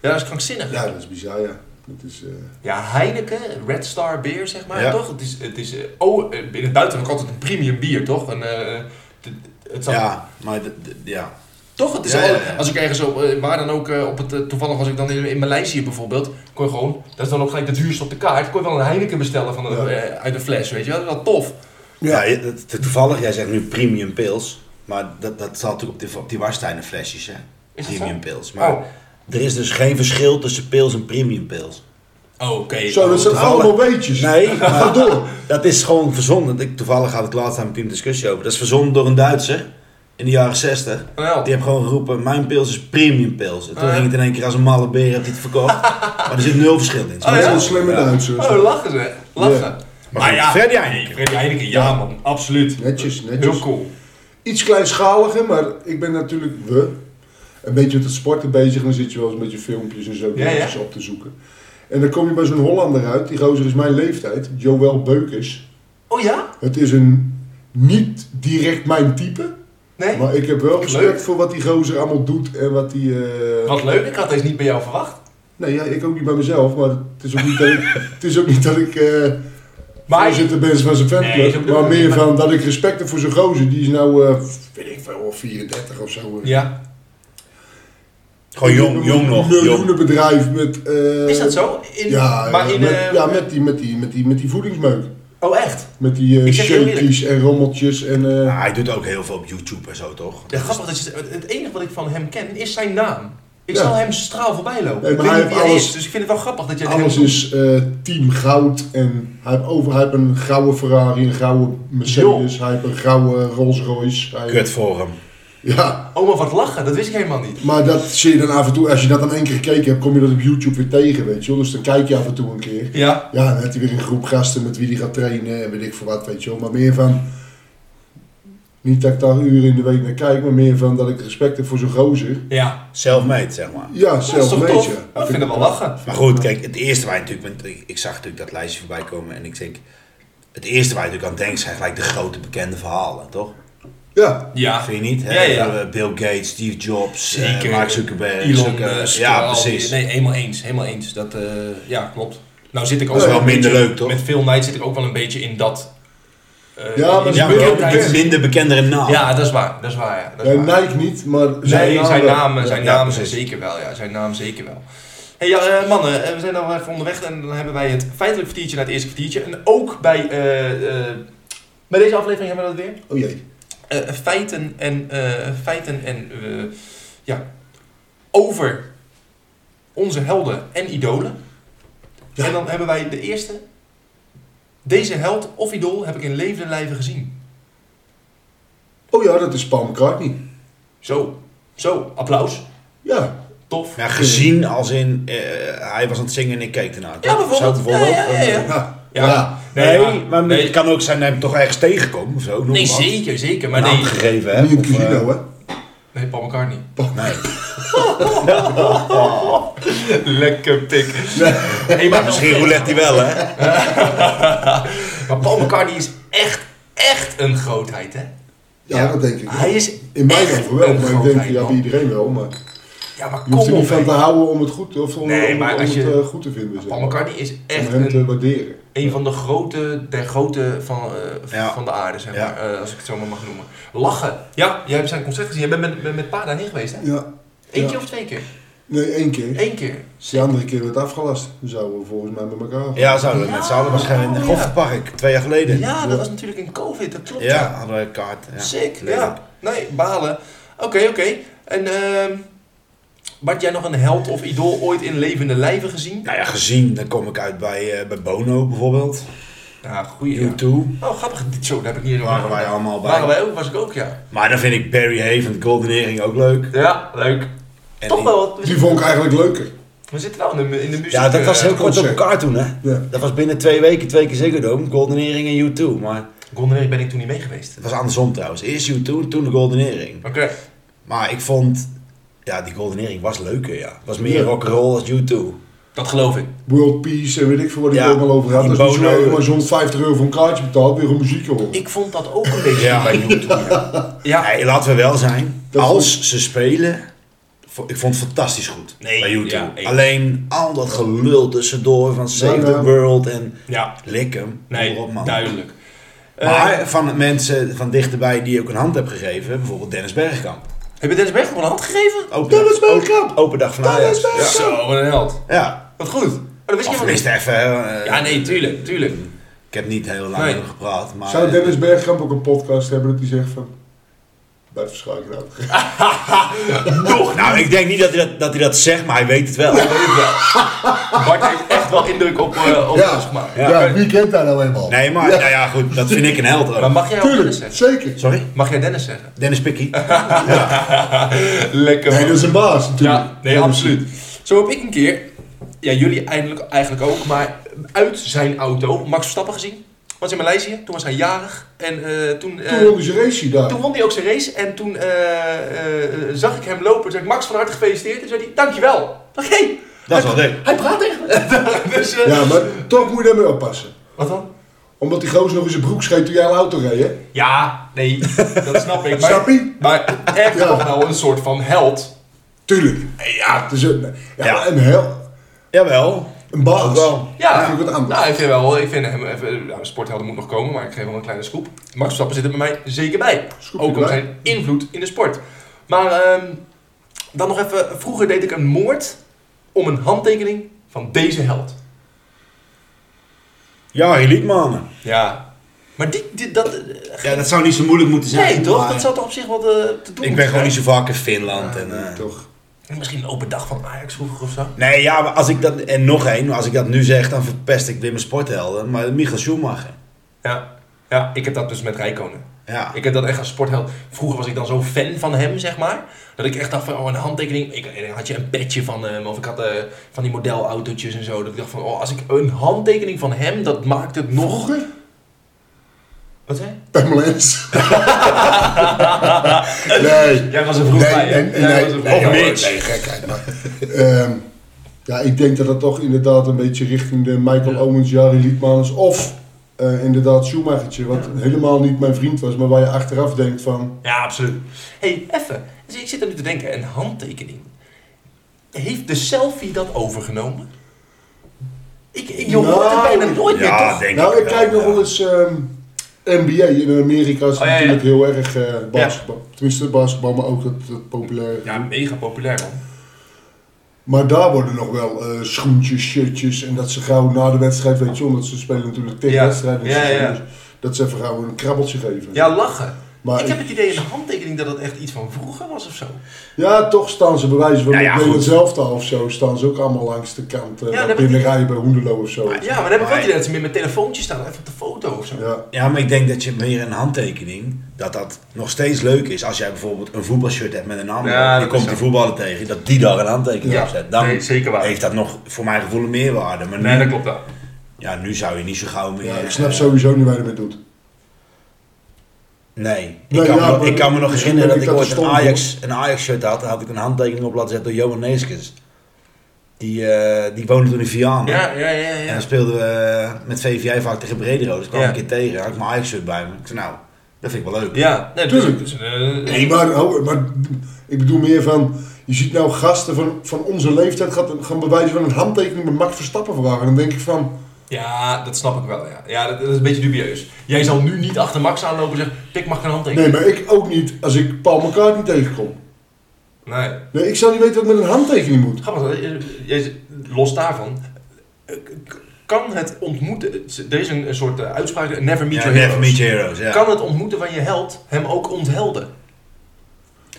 Speaker 3: Ja, dat is krankzinnig.
Speaker 2: Ja, dat is bizar, ja. Dat is, eh,
Speaker 3: Ja, Heineken, Red Star Beer, zeg maar,
Speaker 4: Ja.
Speaker 3: toch? Het is, het is, eh, oh, eh, in het buitenland ook altijd een premium bier, toch? Een, eh, het- het zal-
Speaker 4: Ja, maar d- d- ja.
Speaker 3: Toch? Het is
Speaker 4: Ja,
Speaker 3: al-
Speaker 4: ja, ja.
Speaker 3: Als ik ergens op, eh, waar dan ook, eh, op het, eh, toevallig was ik dan in, in Maleisië bijvoorbeeld, kon je gewoon, dat is dan ook gelijk de duurste op de kaart, kon je wel een Heineken bestellen van een,
Speaker 2: Ja.
Speaker 3: eh, uit een fles, weet je wel? Dat is wel tof.
Speaker 4: Ja, je- het- het- toevallig, jij zegt nu premium pils. Maar dat, dat staat natuurlijk op die, op die Warsteiner flesjes, hè?
Speaker 3: Is dat
Speaker 4: Premium
Speaker 3: zo?
Speaker 4: pils. Maar
Speaker 3: Oh.
Speaker 4: er is dus geen verschil tussen pils en premium pils.
Speaker 3: Oh, Oké.
Speaker 2: Zo, dat zijn
Speaker 4: toevallig.
Speaker 2: allemaal weetjes.
Speaker 4: Nee,
Speaker 2: Ga
Speaker 4: maar
Speaker 2: door.
Speaker 4: dat is gewoon verzonnen. Ik, toevallig had ik laatst aan mijn team discussie over. Dat is verzonnen door een Duitser in de jaren 60.
Speaker 3: Nou,
Speaker 4: Die heeft gewoon geroepen, mijn pils is premium pils. En toen
Speaker 3: Ah, ja.
Speaker 4: ging het in één keer als een malle beer, heb hij het verkocht. maar er zit nul verschil in.
Speaker 3: Ah,
Speaker 2: Dat is
Speaker 3: ja?
Speaker 2: een slimme Duitser.
Speaker 3: oh, lachen ze. Lachen.
Speaker 2: Ja.
Speaker 3: Maar, ja,
Speaker 4: Freddy Heineken.
Speaker 3: Freddy Heineken, ja man, absoluut. Eh,
Speaker 2: Netjes,
Speaker 3: Heel
Speaker 2: netjes.
Speaker 3: cool.
Speaker 2: Iets kleinschaliger, maar ik ben natuurlijk we. Een beetje met het sporten bezig en dan zit je wel eens met je filmpjes en zo
Speaker 3: Ja, ja.
Speaker 2: dingetjes op te zoeken. En dan kom je bij zo'n Hollander uit, die gozer is mijn leeftijd, Joël Beukers.
Speaker 3: Oh ja?
Speaker 2: Het is een niet direct mijn type,
Speaker 3: Nee?
Speaker 2: maar ik heb wel respect
Speaker 3: Leuk.
Speaker 2: voor wat die gozer allemaal doet en wat die... eh,
Speaker 3: Wat leuk, ik had deze niet bij jou verwacht.
Speaker 2: Nee, ja, ik ook niet bij mezelf, maar het is ook niet dat ik, het is ook niet dat ik eh
Speaker 3: Maar-
Speaker 2: voorzitter ben van zijn
Speaker 3: Nee,
Speaker 2: fanclub,
Speaker 3: zo bedoel
Speaker 2: maar
Speaker 3: ik
Speaker 2: meer
Speaker 3: niet, maar-
Speaker 2: van dat ik respect heb voor zo'n gozer. Die is nou, eh, weet ik veel, 34 of zo. eh.
Speaker 3: Ja.
Speaker 4: Gewoon Oh, jong, jong nog.
Speaker 2: Een
Speaker 4: Jong.
Speaker 2: miljoenenbedrijf met... eh,
Speaker 3: Is dat zo? In,
Speaker 2: Ja,
Speaker 3: maar
Speaker 2: ja,
Speaker 3: in,
Speaker 2: met,
Speaker 3: eh,
Speaker 2: ja met, die, met, die, met, die, met die voedingsmeuk.
Speaker 3: Oh echt?
Speaker 2: Met die eh
Speaker 3: Ik zeg je heel
Speaker 2: shakies en rommeltjes en... eh,
Speaker 4: Ah, hij doet ook heel veel op YouTube en zo, toch?
Speaker 3: Ja, grappig dat je het- het enige wat ik van hem ken is zijn naam. Ik
Speaker 2: Ja.
Speaker 3: zal hem straal voorbij lopen.
Speaker 2: Nee,
Speaker 3: ik
Speaker 2: maar
Speaker 3: weet
Speaker 2: hij
Speaker 3: niet wie
Speaker 2: heeft
Speaker 3: hij
Speaker 2: alles-
Speaker 3: is, dus ik vind het wel grappig dat jij het
Speaker 2: alles
Speaker 3: hem-
Speaker 2: is eh, team goud en hij heeft, over, hij heeft een gouden Ferrari, een gouden Mercedes, hij heeft een gouden Rolls Royce. Hij,
Speaker 4: Kut voor hem.
Speaker 2: Ja,
Speaker 3: Oh, maar wat lachen, dat wist ik helemaal niet.
Speaker 2: Maar dat zie je dan af en toe, als je dat dan één keer gekeken hebt, kom je dat op YouTube weer tegen, weet je wel. Dus dan kijk je af en toe een keer.
Speaker 3: Ja.
Speaker 2: Ja, dan heeft hij weer een groep gasten met wie hij gaat trainen en weet ik voor wat, weet je wel. Maar meer van, niet dat ik daar uren in de week naar kijk, maar meer van dat ik respect heb voor zo'n gozer.
Speaker 3: Ja.
Speaker 4: Self-made, zeg maar.
Speaker 2: Ja,
Speaker 3: Dat is
Speaker 2: zelf
Speaker 3: toch
Speaker 2: een
Speaker 3: tof?
Speaker 2: beetje.
Speaker 3: Ja, Ik vind het wel lachen.
Speaker 4: Maar goed, kijk, het eerste waar je natuurlijk... want ik- Ik zag natuurlijk dat lijstje voorbij komen en ik denk... Het eerste waar je natuurlijk aan denkt zijn gelijk de grote bekende verhalen, toch?
Speaker 2: Ja,
Speaker 3: Ja.
Speaker 4: Vind je niet? Hè?
Speaker 3: Ja, ja.
Speaker 4: Eh, Bill Gates, Steve Jobs, eh,
Speaker 3: Zeker.
Speaker 4: Mark Zuckerberg.
Speaker 3: Elon
Speaker 4: zulke-
Speaker 3: Musk. eh,
Speaker 4: ja,
Speaker 3: al die-
Speaker 4: precies.
Speaker 3: Nee, helemaal eens. Helemaal eens. Dat, eh, ja, klopt. Nou zit ik ook
Speaker 4: Dat is wel
Speaker 3: een beetje-
Speaker 4: minder leuk, toch?
Speaker 3: Met Phil Knight zit ik ook wel een beetje in dat... eh,
Speaker 2: Ja,
Speaker 3: in
Speaker 2: maar
Speaker 4: Ja,
Speaker 3: die
Speaker 4: maar wel
Speaker 2: bekendheid.
Speaker 4: bekend- minder bekendere naam.
Speaker 3: Ja, dat is waar. Dat is waar, ja. Dat is
Speaker 2: eh,
Speaker 3: waar.
Speaker 2: Nike niet, maar
Speaker 3: Nee, zijn
Speaker 2: wel.
Speaker 3: naam, zijn
Speaker 4: ja,
Speaker 3: naam
Speaker 4: precies.
Speaker 3: zeker wel. Ja, zijn naam zeker wel. Hey, ja, eh, mannen, eh, we zijn al even onderweg en dan hebben wij het feitelijk kwartiertje naar het eerste kwartiertje. En ook bij, eh, eh, bij deze aflevering hebben we dat weer.
Speaker 2: Oh jee.
Speaker 3: Eh, feiten en, eh, feiten en eh, ja, over onze helden en idolen.
Speaker 2: Ja.
Speaker 3: En dan hebben wij de eerste. Deze held of idool heb ik in levende lijven gezien.
Speaker 2: Oh ja, dat is Paul McCartney.
Speaker 3: Zo, zo, applaus.
Speaker 2: Ja,
Speaker 3: Tof.
Speaker 4: Ja, gezien als in, eh, hij was aan het zingen en ik keek ernaar. toch?
Speaker 3: Ja, bijvoorbeeld. eh,
Speaker 4: Zo bijvoorbeeld. eh,
Speaker 3: Ja, ja, ja, ja.
Speaker 2: ja.
Speaker 3: Ja.
Speaker 2: Ja.
Speaker 4: Nee,
Speaker 3: ja.
Speaker 4: maar
Speaker 3: Nee.
Speaker 4: het kan ook zijn dat hij hem toch ergens tegenkomt of zo. noem
Speaker 3: Nee,
Speaker 4: maar.
Speaker 3: zeker, zeker. Maar
Speaker 4: Een naam
Speaker 3: nee,
Speaker 4: gegeven
Speaker 2: niet in
Speaker 4: hebt.
Speaker 2: het
Speaker 4: of, eh,
Speaker 2: casino, hè.
Speaker 3: nee, Paul McCartney.
Speaker 4: Nee.
Speaker 3: Lekker pik. Nee, maar,
Speaker 4: Misschien roulette hij wel, hè?
Speaker 3: maar Paul McCartney is echt, echt een grootheid, hè?
Speaker 2: Ja, dat denk ik.
Speaker 3: Hij is
Speaker 2: In mijn
Speaker 3: echt
Speaker 2: ogen wel,
Speaker 3: een
Speaker 2: maar ik
Speaker 3: grootheid,
Speaker 2: denk ja, bij
Speaker 3: man.
Speaker 2: iedereen wel, maar...
Speaker 3: Ja, maar
Speaker 2: Je hoeft
Speaker 3: kom
Speaker 2: er
Speaker 3: op.
Speaker 2: niet van te
Speaker 3: hè.
Speaker 2: houden om het goed, of om,
Speaker 3: Nee,
Speaker 2: om-
Speaker 3: maar
Speaker 2: om
Speaker 3: als
Speaker 2: het
Speaker 3: je-
Speaker 2: eh, goed te vinden. zeg
Speaker 3: Paul
Speaker 2: maar.
Speaker 3: McCartney is
Speaker 2: Om
Speaker 3: echt
Speaker 2: hem te
Speaker 3: een,
Speaker 2: waarderen.
Speaker 3: een van de grote, der grote van, eh,
Speaker 4: Ja.
Speaker 3: van de aarde, zeg
Speaker 4: Ja.
Speaker 3: maar. eh, als ik het zo maar mag noemen. Lachen. Ja, jij hebt zijn concert gezien. Jij bent met, met, met Pa daarheen geweest, hè?
Speaker 2: Ja.
Speaker 3: Eén
Speaker 2: Ja.
Speaker 3: keer of twee keer?
Speaker 2: Nee, één keer.
Speaker 3: Eén keer.
Speaker 2: De andere keer werd afgelast. Dan zouden we volgens mij met elkaar.
Speaker 4: Ja, zouden we met z'n allen waarschijnlijk in
Speaker 3: Ja.
Speaker 4: het Goffertpark, twee jaar geleden.
Speaker 3: Ja, dat was natuurlijk in COVID, dat klopt.
Speaker 4: Ja, hadden we een kaart. Ja.
Speaker 3: Sick,
Speaker 4: Leuk.
Speaker 3: ja. Nee, balen. Oké, oké. En ehm Bart, jij nog een held of idool ooit in levende lijven gezien?
Speaker 4: Nou ja, gezien, dan kom ik uit bij, eh, bij Bono bijvoorbeeld.
Speaker 3: Ja, goeie. ja.
Speaker 4: U2.
Speaker 3: Oh, grappig. Dit- Zo, daar heb ik niet helemaal
Speaker 4: Waren wij allemaal bij.
Speaker 3: Waren wij ook, was ik ook, ja.
Speaker 4: Maar dan vind ik Barry Hay van Golden Earring ook leuk.
Speaker 3: Ja, leuk.
Speaker 4: En
Speaker 3: Toch
Speaker 4: die-
Speaker 3: wel. wat-
Speaker 2: Die vond ik eigenlijk leuker.
Speaker 3: We zitten wel in de, in de muziek.
Speaker 4: Ja, dat was
Speaker 3: eh,
Speaker 4: heel kort op
Speaker 2: concert.
Speaker 4: elkaar toen, hè?
Speaker 2: Ja.
Speaker 4: Dat was binnen twee weken, twee keer Ziggo Dome, Golden Earring en U2. Maar
Speaker 3: Golden Earring ben ik toen niet mee geweest.
Speaker 4: het was andersom trouwens. Eerst U2, toen de Golden Earring.
Speaker 3: Oké.
Speaker 4: Maar ik vond, ja, die Golden Earring was leuker, ja. Het was meer
Speaker 2: Ja.
Speaker 4: rock'n'roll als U2.
Speaker 3: Dat geloof ik.
Speaker 2: World Peace en weet ik veel wat ik
Speaker 4: Ja,
Speaker 2: er allemaal over had.
Speaker 4: die
Speaker 2: Dat is niet zo
Speaker 4: Bono.
Speaker 2: erg, maar zo'n 50 euro voor een kaartje betaald, weer een muziek horen.
Speaker 3: Ik vond dat ook een beetje
Speaker 4: Ja.
Speaker 3: bij U2. Ja. ja.
Speaker 4: Nee, laten we wel zijn.
Speaker 2: Dat
Speaker 4: als ze spelen, vo- ik vond het fantastisch goed
Speaker 3: Nee,
Speaker 4: bij U2.
Speaker 3: ja, eens.
Speaker 4: Alleen al dat gelul tussendoor van Save
Speaker 2: Ja,
Speaker 4: the
Speaker 2: ja.
Speaker 4: World en
Speaker 3: Ja.
Speaker 4: lik hem.
Speaker 3: Nee,
Speaker 4: kom op, man.
Speaker 3: duidelijk. Eh,
Speaker 4: Maar van mensen van dichterbij die je ook een hand hebt gegeven, bijvoorbeeld Dennis Bergkamp.
Speaker 3: heb je Dennis Bergkamp een hand gegeven?
Speaker 4: Open
Speaker 2: Dennis
Speaker 4: dag-
Speaker 2: Bergkamp!
Speaker 4: Open, open dag van
Speaker 2: Dennis
Speaker 4: Ajax.
Speaker 2: Bergkamp!
Speaker 3: Zo, wat een held.
Speaker 4: Ja.
Speaker 3: Wat goed. Maar dat wist ik
Speaker 4: Of
Speaker 3: helemaal niet.
Speaker 4: tenminste even. eh,
Speaker 3: Ja, nee, tuurlijk, tuurlijk.
Speaker 4: Ik heb niet heel lang
Speaker 3: Nee.
Speaker 4: met hem gepraat, maar...
Speaker 2: Zou Dennis Bergkamp ook een podcast hebben dat hij zegt van... Blijf verschuiken nou.
Speaker 4: Nog? Nou, ik denk niet dat hij dat, dat hij dat zegt, maar hij weet het wel.
Speaker 3: Dat weet ik wel. Bart heeft echt wel indruk op, eh op ons gemaakt.
Speaker 2: Ja,
Speaker 4: Ja.
Speaker 2: wie kent daar nou eenmaal?
Speaker 4: Nee, maar
Speaker 2: Ja,
Speaker 4: nou ja, goed, dat vind ik een held
Speaker 3: Maar
Speaker 4: ook.
Speaker 3: mag jij ook
Speaker 2: Tuurlijk,
Speaker 3: Dennis zeggen?
Speaker 2: zeker.
Speaker 4: Sorry?
Speaker 3: Mag jij Dennis zeggen?
Speaker 4: Dennis Pikkie.
Speaker 3: Lekker
Speaker 2: Nee, dat is een baas natuurlijk.
Speaker 3: Ja, nee, absoluut. Zo heb ik een keer, ja jullie eindelijk, eigenlijk ook, maar uit zijn auto Max Verstappen gezien. Was in Maleisië, toen was hij jarig. En eh, toen, eh,
Speaker 2: Toen won hij zijn race daar.
Speaker 3: toen won hij ook zijn race en toen eh, eh, zag ik hem lopen. Toen zei ik, Max van harte gefeliciteerd. En zei hij, dankjewel. Ik dacht, hey,
Speaker 4: Dat is
Speaker 3: hij,
Speaker 4: wel leuk.
Speaker 3: hij praat tegen me. dus, eh,
Speaker 2: Ja, maar toch moet je daarmee oppassen.
Speaker 3: Wat dan?
Speaker 2: Omdat die gozer nog in zijn broek scheet toen jij een auto reed, hè?
Speaker 3: Ja, nee, dat snap ik. Maar,
Speaker 2: Snap je?
Speaker 3: maar echt
Speaker 2: Ja.
Speaker 3: toch wel een soort van held.
Speaker 2: Tuurlijk.
Speaker 3: Ja,
Speaker 2: Het is een, ja,
Speaker 4: Ja.
Speaker 2: maar een hel...
Speaker 4: Jawel.
Speaker 2: Een baas.
Speaker 4: Ook wel.
Speaker 3: Ja,
Speaker 2: Dat vind ik wat anders.
Speaker 3: Nou, ik vind wel, ik vind hem, even, nou, sporthelden moet nog komen, maar ik geef wel een kleine scoop. Max Verstappen zit er bij mij zeker bij.
Speaker 2: Scoopje
Speaker 3: ook om
Speaker 2: erbij.
Speaker 3: zijn invloed in de sport. Maar ehm, dan nog even, vroeger deed ik een moord om een handtekening van deze held.
Speaker 4: Ja, Liedmanen.
Speaker 3: Ja. Maar die, die- dat, eh,
Speaker 4: Ja, dat zou niet zo moeilijk moeten zijn.
Speaker 3: nee toch?
Speaker 4: maar
Speaker 3: Dat zou toch op zich wat eh, te doen
Speaker 4: Ik ben
Speaker 3: moeten
Speaker 4: gewoon niet
Speaker 3: zijn?
Speaker 4: zo vaak in Finland. en,
Speaker 2: Nee,
Speaker 4: eh,
Speaker 2: toch.
Speaker 3: Misschien een open dag van Ajax vroeger of zo.
Speaker 4: Nee, ja, maar als ik dat... En nog één, als ik dat nu zeg, dan verpest ik weer mijn sporthelden. Maar Michael Schumacher.
Speaker 3: Ja. Ja, ik heb dat dus met Rijkonen.
Speaker 4: Ja.
Speaker 3: Ik heb dat echt als sportheld. Vroeger was ik dan zo'n fan van hem, zeg maar. Dat ik echt dacht van, oh, een handtekening. Ik en dan had je een petje van hem. Of ik had eh, van die modelautootjes en zo. Dat ik dacht van, oh, als ik een handtekening van hem, dat maakt het nog...
Speaker 2: Vroeger?
Speaker 3: Wat zei je?
Speaker 2: Pamela Ens. nee.
Speaker 3: Jij was er vroeg
Speaker 2: Nee,
Speaker 3: bij. hè?
Speaker 2: en- en
Speaker 3: Jij
Speaker 2: nee,
Speaker 3: was er
Speaker 2: nee,
Speaker 3: vroeg
Speaker 4: hoor,
Speaker 3: bij.
Speaker 4: Mitch.
Speaker 3: Nee, gekheid.
Speaker 2: Ehm, ja, ik denk dat dat toch inderdaad een beetje richting de Michael
Speaker 3: Ja.
Speaker 2: Owens, Jari Liedmanus of eh, inderdaad Schumachertje, wat helemaal niet mijn vriend was, maar waar je achteraf denkt van...
Speaker 3: Ja, absoluut. hey, effen. Dus ik zit er nu te denken, een handtekening. Heeft de selfie dat overgenomen? Ik, ik je hoort het
Speaker 2: Nou,
Speaker 3: bijna nooit meer,
Speaker 4: Ja,
Speaker 3: toch?
Speaker 4: denk
Speaker 2: nou, ik
Speaker 4: wel,
Speaker 2: kijk nog
Speaker 4: ja.
Speaker 2: wel eens ehm, NBA. In Amerika is het
Speaker 3: Oh, ja, ja.
Speaker 2: natuurlijk heel erg eh, basketbal. Tenminste, basketbal, maar ook dat, dat populair.
Speaker 3: Ja, mega populair, man.
Speaker 2: Maar daar worden nog wel eh, schoentjes, shirtjes en dat ze gauw na de wedstrijd, weet je, omdat ze spelen natuurlijk tegen
Speaker 3: Ja.
Speaker 2: wedstrijden.
Speaker 3: Ja, ja, ja.
Speaker 2: Dus dat ze even gauw een krabbeltje geven.
Speaker 3: Ja, lachen.
Speaker 2: Maar
Speaker 3: ik
Speaker 2: ik-
Speaker 3: heb het idee in de handtekening dat het echt iets van vroeger was of zo.
Speaker 2: Ja, toch staan ze bij wijze van
Speaker 4: Nou ja,
Speaker 2: Nederland
Speaker 4: goed.
Speaker 2: zelf daar of zo, staan ze ook allemaal langs de kant eh
Speaker 3: Ja,
Speaker 2: naar
Speaker 3: dat
Speaker 2: binnen
Speaker 3: heb ik-
Speaker 2: rijden bij Hoendelo of zo.
Speaker 3: Ja, maar dan heb ik wel het
Speaker 4: Nee.
Speaker 3: idee dat ze meer met telefoontjes staan, even op de foto of zo.
Speaker 2: Ja.
Speaker 4: Ja, maar ik denk dat je meer een handtekening, dat dat nog steeds leuk is. Als jij bijvoorbeeld een voetbalshirt hebt met een naam,
Speaker 3: Ja,
Speaker 4: je
Speaker 3: dat is
Speaker 4: komt
Speaker 3: zo.
Speaker 4: die voetballer tegen, dat die daar een handtekening
Speaker 3: Ja,
Speaker 4: op zet. Dan
Speaker 3: nee, zeker waar.
Speaker 4: heeft dat nog voor mijn gevoel een meerwaarde. Maar nu,
Speaker 3: wel.
Speaker 4: Ja, nu zou je niet zo gauw meer...
Speaker 2: Ja, ik snap
Speaker 4: eh,
Speaker 2: sowieso niet waar je ermee doet.
Speaker 4: Nee, ik,
Speaker 2: Nee,
Speaker 4: kan,
Speaker 2: ja,
Speaker 4: me, nog-
Speaker 2: maar-
Speaker 4: ik kan me nog
Speaker 2: misschien
Speaker 4: herinneren
Speaker 2: ben
Speaker 4: dat
Speaker 2: ik
Speaker 4: ik
Speaker 2: dat
Speaker 4: ooit een
Speaker 2: stom,
Speaker 4: Ajax, een Ajax shirt had. Daar had ik een handtekening op laten zetten door Johan Neeskens. Die, eh, die woonde toen in Vianen.
Speaker 3: Ja, ja, ja.
Speaker 4: En
Speaker 3: ja.
Speaker 4: dan speelden we eh, met VVJ vaak tegen Brederode. Dus ik kwam
Speaker 3: Ja.
Speaker 4: een keer tegen, had ik mijn Ajax shirt bij me. Ik zei nou, dat vind ik wel leuk.
Speaker 3: Ja, nee,
Speaker 2: Tuurlijk.
Speaker 3: dus, dus, eh,
Speaker 2: Nee, maar, hou- maar ik bedoel meer van, je ziet nou gasten van, van onze leeftijd gaan, gaan bewijzen van een handtekening met Max Verstappen vragen. En dan denk ik van,
Speaker 3: ja, dat snap ik wel, ja. Ja, dat, dat is een beetje dubieus. Jij zal nu niet achter Max aanlopen en zeggen, pik mag een handtekening.
Speaker 2: nee, maar ik ook niet als ik Paul McCartney tegenkom.
Speaker 3: Nee.
Speaker 2: Nee, ik zou niet weten wat met een handtekening moet.
Speaker 3: Grappig, eh, eh, jij- los daarvan, eh, k- kan het ontmoeten, er is een, een soort eh, uitspraak, never meet
Speaker 4: Ja,
Speaker 3: your
Speaker 4: Never
Speaker 3: heroes.
Speaker 4: Meet Your Heroes. Ja.
Speaker 3: Kan het ontmoeten van je held hem ook onthelden?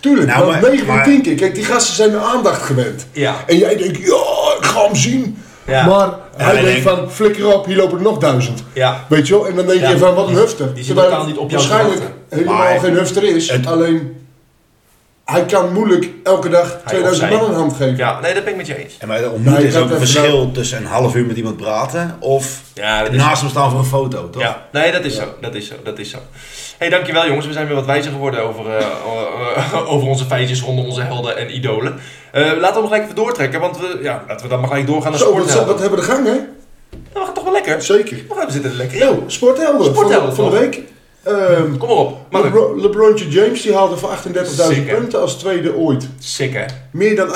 Speaker 2: Tuurlijk,
Speaker 4: Nou,
Speaker 2: maar
Speaker 4: maar-
Speaker 2: 9 van
Speaker 4: maar-
Speaker 2: 10 keer. Kijk, die gasten zijn de aandacht gewend.
Speaker 3: Ja.
Speaker 2: En jij denkt, ja, ik ga hem zien.
Speaker 3: Ja.
Speaker 2: Maar hij
Speaker 4: hij
Speaker 2: denkt
Speaker 4: denkt-
Speaker 2: van, flikker op, hier lopen er nog duizend.
Speaker 3: Ja.
Speaker 2: Weet je wel? En dan denk
Speaker 3: Ja,
Speaker 2: je van, wat een
Speaker 3: die-
Speaker 2: hufter.
Speaker 3: die zit
Speaker 2: Terwijl
Speaker 3: totaal niet op jou te
Speaker 2: waarschijnlijk
Speaker 3: wachten.
Speaker 2: helemaal
Speaker 4: Maar-
Speaker 2: geen hufter is.
Speaker 4: Het-
Speaker 2: alleen, Hij kan moeilijk elke dag 2000
Speaker 3: of zij.
Speaker 2: man een hand geven.
Speaker 3: Ja, nee, dat ben ik met je eens.
Speaker 4: En maar er
Speaker 2: Nee,
Speaker 4: ontmoeten
Speaker 2: ik
Speaker 4: is
Speaker 2: had
Speaker 4: ook een
Speaker 2: even
Speaker 4: verschil tussen een half uur met iemand praten of
Speaker 3: Ja, dat is
Speaker 2: Nou,
Speaker 4: naast hem staan voor een foto, toch?
Speaker 3: Ja, nee, dat is zo. Dat is zo. Dat is zo. hey, dankjewel jongens. We zijn weer wat wijzer geworden over, eh, eh, over onze feitjes rondom onze helden en idolen. Eh, laten we nog gelijk even doortrekken, want we, ja, laten we dan maar gelijk doorgaan naar
Speaker 2: Zo, wat,
Speaker 3: sporthelden.
Speaker 2: wat hebben we de gang, hè?
Speaker 3: Nou, we gaan toch wel lekker.
Speaker 2: Zeker.
Speaker 3: We gaan we zitten er lekker in.
Speaker 2: Yo, sporthelden.
Speaker 3: Sporthelden,
Speaker 2: van, van de
Speaker 3: toch?
Speaker 2: week. Ehm
Speaker 3: Kom maar op. Mark.
Speaker 2: Lebron, LeBron James die haalde voor 38.000
Speaker 3: Zeker.
Speaker 2: punten als tweede ooit.
Speaker 3: Sick hè,
Speaker 2: Meer dan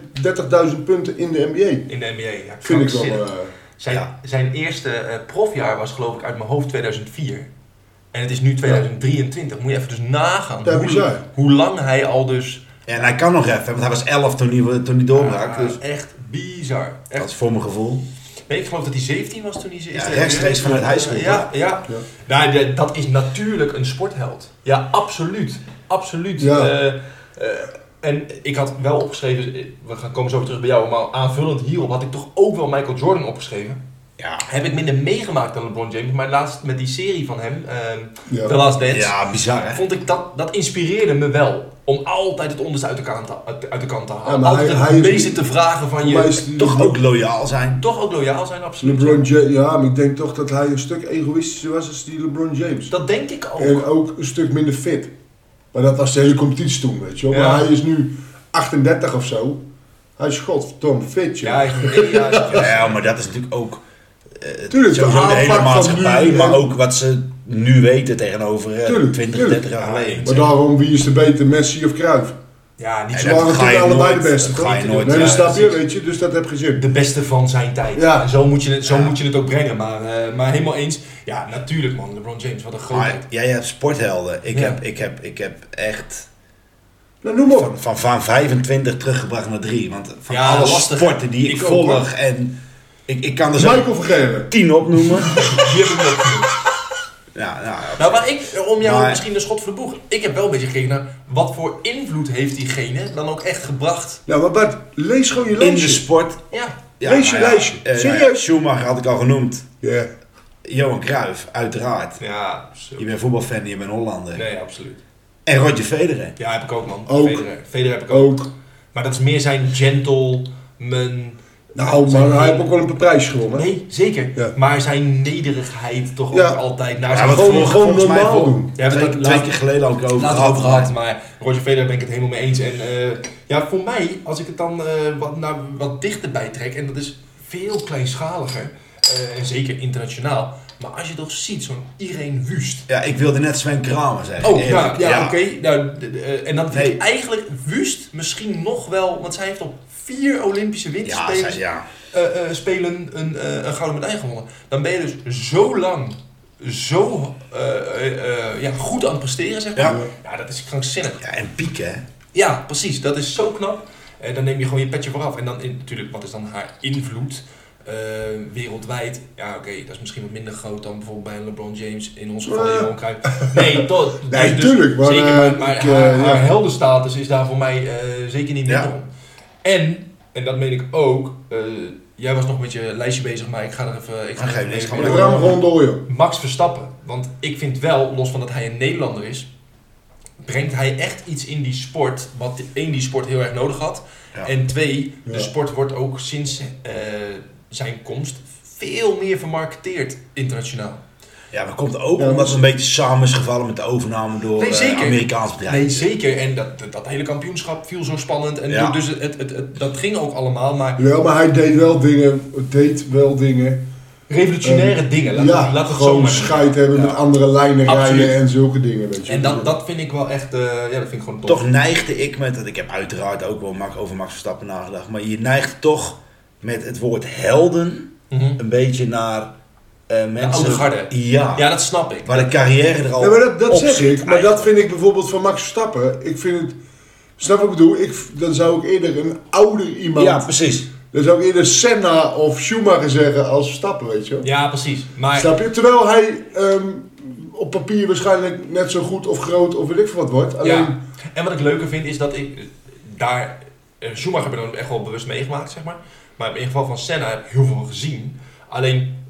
Speaker 2: 38.000 punten in de NBA.
Speaker 3: in de NBA. Ja,
Speaker 2: Vind ik wel.
Speaker 3: krankzinnig.
Speaker 2: eh,
Speaker 3: Zijn,
Speaker 4: Ja.
Speaker 3: zijn eerste eh, profjaar was geloof ik uit mijn hoofd 2004. En het is nu 2023. Moet je even dus nagaan
Speaker 2: Ja, bizar.
Speaker 3: hoe, hoe lang hij al dus...
Speaker 4: En hij kan nog even, want hij was 11 toen hij, toen hij doorbrak.
Speaker 3: Ah,
Speaker 4: dus
Speaker 3: Echt bizar. Echt
Speaker 4: dat is voor mijn gevoel.
Speaker 3: Nee, ik geloof dat hij 17 was toen hij ze
Speaker 4: Ja, rechtstreeks vanuit high school,
Speaker 3: Ja, ja. Nou, de- dat is natuurlijk een sportheld. Ja, absoluut. Absoluut.
Speaker 2: Ja.
Speaker 3: Eh, eh, en ik had wel opgeschreven, eh, we gaan komen zo weer terug bij jou, maar aanvullend hierop had ik toch ook wel Michael Jordan opgeschreven.
Speaker 4: Ja,
Speaker 3: Heb ik minder meegemaakt dan LeBron James, maar laatst met die serie van hem, ehm,
Speaker 2: Ja.
Speaker 3: The Last Dance,
Speaker 4: ja bizar hè?
Speaker 3: vond ik dat, dat inspireerde me wel. Om altijd het onderste uit de kant te, uit, uit de kant te halen.
Speaker 2: Ja, maar
Speaker 3: altijd
Speaker 2: hij-
Speaker 3: het
Speaker 2: hij is-
Speaker 3: meeste te vragen van
Speaker 2: voor mij
Speaker 3: je.
Speaker 2: is Le-
Speaker 4: Toch ook loyaal zijn.
Speaker 3: Toch ook loyaal zijn, absoluut.
Speaker 2: LeBron James. Ja, maar ik denk toch dat hij een stuk egoïstischer was als die LeBron James.
Speaker 3: Dat denk ik ook.
Speaker 2: En ook een stuk minder fit. Maar dat was de hele competitie toen, weet je wel.
Speaker 3: Ja.
Speaker 2: Maar hij is nu 38 of zo. Hij is godverdomme fit, joh.
Speaker 3: Ja, ik- nee, ja, ja.
Speaker 4: Ja, maar dat is natuurlijk ook eh,
Speaker 2: Tuurlijk, de
Speaker 4: sowieso de hele
Speaker 2: aanpak van eh,
Speaker 4: maatschappij,
Speaker 2: nu,
Speaker 4: maar
Speaker 2: ja.
Speaker 4: ook wat ze nu weten tegenover eh,
Speaker 2: Tuurlijk,
Speaker 4: 20,
Speaker 2: tuurlijk.
Speaker 4: 30 jaar geleden.
Speaker 2: maar daarom, wie is de beter, Messi of Cruijff?
Speaker 3: ja, niet
Speaker 4: Nee,
Speaker 3: zo
Speaker 2: Ze waren
Speaker 4: dat ga je
Speaker 2: natuurlijk allebei
Speaker 4: nooit-
Speaker 2: de beste,
Speaker 4: dat
Speaker 2: toch?
Speaker 4: ga je nooit,
Speaker 2: nee,
Speaker 3: ja,
Speaker 2: dat snap je,
Speaker 3: precies.
Speaker 2: weet je. Dus dat heb geen zin.
Speaker 3: de beste van zijn tijd.
Speaker 2: Ja.
Speaker 3: En zo moet je het, zo
Speaker 4: Ja.
Speaker 3: moet je het ook brengen. Maar, eh, maar helemaal eens. Ja, natuurlijk man. LeBron James, wat een
Speaker 4: Maar
Speaker 3: grootheid.
Speaker 4: jij hebt sporthelden. Ik,
Speaker 3: Ja.
Speaker 4: heb, ik, heb, ik heb echt
Speaker 2: Nou, noem op.
Speaker 4: van, van, van 25 teruggebracht naar 3. Want van
Speaker 3: Ja,
Speaker 4: alle
Speaker 3: lastig, hè?
Speaker 4: sporten die ik,
Speaker 3: Ik ook,
Speaker 4: volg
Speaker 3: hoor.
Speaker 4: en ik, ik kan er zo
Speaker 2: Michael Vergelen.
Speaker 4: 10 opnoemen.
Speaker 3: Die heb ik wel genoemd.
Speaker 4: ja, nou, ja.
Speaker 3: Nou, maar ik, om jou
Speaker 4: Maar-
Speaker 3: misschien de schot voor de boeg. Ik heb wel een beetje gekeken naar wat voor invloed heeft diegene dan ook echt gebracht.
Speaker 2: Nou, maar Bart, lees gewoon je
Speaker 4: in de
Speaker 2: lijstje.
Speaker 4: sport.
Speaker 3: Ja.
Speaker 4: Ja,
Speaker 2: Lees je
Speaker 4: nou ja,
Speaker 2: lijstje.
Speaker 4: eh,
Speaker 2: Serieus?
Speaker 4: Schumacher had ik al genoemd.
Speaker 2: Ja.
Speaker 4: Johan Cruijff, uiteraard.
Speaker 3: Ja,
Speaker 4: Je bent voetbalfan, je bent Hollander.
Speaker 3: Nee, absoluut.
Speaker 4: En Roger Federer.
Speaker 3: Ja, heb ik ook man.
Speaker 2: Ook.
Speaker 3: Federer. Federer heb ik ook.
Speaker 2: Ook.
Speaker 3: Maar dat is meer zijn gentleman.
Speaker 2: Nou,
Speaker 3: Zijn-
Speaker 2: maar hij heeft ook wel een prijs gewonnen.
Speaker 3: Nee, zeker.
Speaker 2: Ja.
Speaker 3: Maar zijn nederigheid toch
Speaker 2: Ja.
Speaker 3: ook altijd naar
Speaker 4: Ja,
Speaker 3: zijn
Speaker 4: wat
Speaker 2: Gewoon-
Speaker 4: vorige-
Speaker 2: gewoon
Speaker 4: volgens mij
Speaker 2: normaal
Speaker 4: vol-
Speaker 2: doen.
Speaker 3: Ja, maar
Speaker 4: twee,
Speaker 3: dat-
Speaker 4: twee
Speaker 3: laat-
Speaker 4: keer geleden ook over
Speaker 3: Laten we
Speaker 4: gehad.
Speaker 3: over gehad, maar Roger Federer ben ik het helemaal mee eens. En eh, ja, voor mij, als ik het dan eh, wat, naar, wat dichterbij trek, en dat is veel kleinschaliger, eh, en zeker internationaal. Maar als je toch ziet, zo'n Irene Wust.
Speaker 4: Ja, ik wilde net Sven Kramer zeggen.
Speaker 3: Oh,
Speaker 4: eerlijk.
Speaker 3: ja, ja, oké. Nou, d- d- eh, en dan vind
Speaker 4: Nee.
Speaker 3: ik eigenlijk Wust misschien nog wel, want zij heeft op vier Olympische
Speaker 4: Ja,
Speaker 3: winterspelen
Speaker 4: zij- ja.
Speaker 3: eh, eh, spelen een, eh, een gouden medaille gewonnen. Dan ben je dus zo lang, zo eh, eh, eh, ja, goed aan het presteren, zeg maar.
Speaker 4: Ja.
Speaker 3: Ja, dat is krankzinnig.
Speaker 4: ja, en Piek, hè.
Speaker 3: Ja, precies. Dat is zo knap. En dan neem je gewoon je petje vooraf. En dan in- natuurlijk, wat is dan haar invloed eh, wereldwijd? Ja, oké, dat is misschien wat minder groot dan bijvoorbeeld bij een LeBron James. In ons geval
Speaker 2: Eh.
Speaker 3: Johan Cruijff. Nee, toch.
Speaker 2: Nee, tuurlijk, maar,
Speaker 3: zeker,
Speaker 2: eh,
Speaker 3: maar, maar
Speaker 2: ik,
Speaker 3: haar,
Speaker 2: eh, ja.
Speaker 3: haar heldenstatus is daar voor mij eh, zeker niet
Speaker 4: Ja.
Speaker 3: minder om. En, en dat meen ik ook, eh, jij was nog met je lijstje bezig, maar ik ga er even... Ik ga
Speaker 4: Ah,
Speaker 3: er
Speaker 4: geen
Speaker 3: even
Speaker 4: eens, gaan
Speaker 2: Maar
Speaker 4: we
Speaker 2: de
Speaker 4: lekker
Speaker 2: ram gewoon door, joh.
Speaker 3: Max Verstappen. Want ik vind wel, los van dat hij een Nederlander is, brengt hij echt iets in die sport. Wat die- één, die sport heel erg nodig had.
Speaker 4: Ja.
Speaker 3: En twee, de
Speaker 2: Ja.
Speaker 3: sport wordt ook sinds eh, zijn komst veel meer vermarketeerd internationaal.
Speaker 4: Ja, maar komt ook
Speaker 2: Ja,
Speaker 4: omdat
Speaker 2: maar-
Speaker 4: ze een beetje samen is gevallen met de overname door
Speaker 3: Nee,
Speaker 4: eh,
Speaker 3: zeker.
Speaker 4: Amerikaans bedrijf.
Speaker 3: Nee, zeker. En dat, dat, dat hele kampioenschap viel zo spannend. En
Speaker 4: Ja.
Speaker 3: dus het, het, het- het- dat ging ook allemaal. Maar
Speaker 2: Ja, maar hij deed wel dingen, deed wel dingen.
Speaker 3: revolutionaire dingen, laat,
Speaker 2: ja,
Speaker 3: laat het zo
Speaker 2: gewoon
Speaker 3: maar
Speaker 2: scheid hebben
Speaker 4: Ja.
Speaker 2: met andere lijnen
Speaker 3: Absoluut.
Speaker 2: rijden en zulke dingen, weet je.
Speaker 3: En dat, dat vind ik wel echt, eh, ja, dat vind ik gewoon top.
Speaker 4: Toch neigde ik met, want ik heb uiteraard ook wel Max- over Max Verstappen nagedacht, maar je neigt toch met het woord helden
Speaker 3: Mhm.
Speaker 4: een beetje naar eh mensen...
Speaker 3: oude garde.
Speaker 4: Ja,
Speaker 3: Ja, dat snap ik.
Speaker 4: waar de carrière er al
Speaker 2: Ja, maar dat, dat
Speaker 4: op
Speaker 2: zeg
Speaker 4: zit
Speaker 2: ik. Maar dat
Speaker 4: eigenlijk.
Speaker 2: vind ik bijvoorbeeld van Max Verstappen. Ik vind het... Snap wat ik bedoel? Ik, dan zou ik eerder een ouder iemand...
Speaker 4: Ja, precies.
Speaker 2: Dan zou ik eerder Senna of Schumacher zeggen als Verstappen, weet je wel.
Speaker 3: Ja, precies. Maar
Speaker 2: Snap je? Terwijl hij ehm, op papier waarschijnlijk net zo goed of groot of weet ik veel wat wordt. Alleen,
Speaker 3: Ja. En wat ik leuker vind is dat ik eh, daar. eh, Schumacher heb ik dan echt wel bewust meegemaakt, zeg maar. Maar in ieder geval van Senna heb ik heel veel gezien. Alleen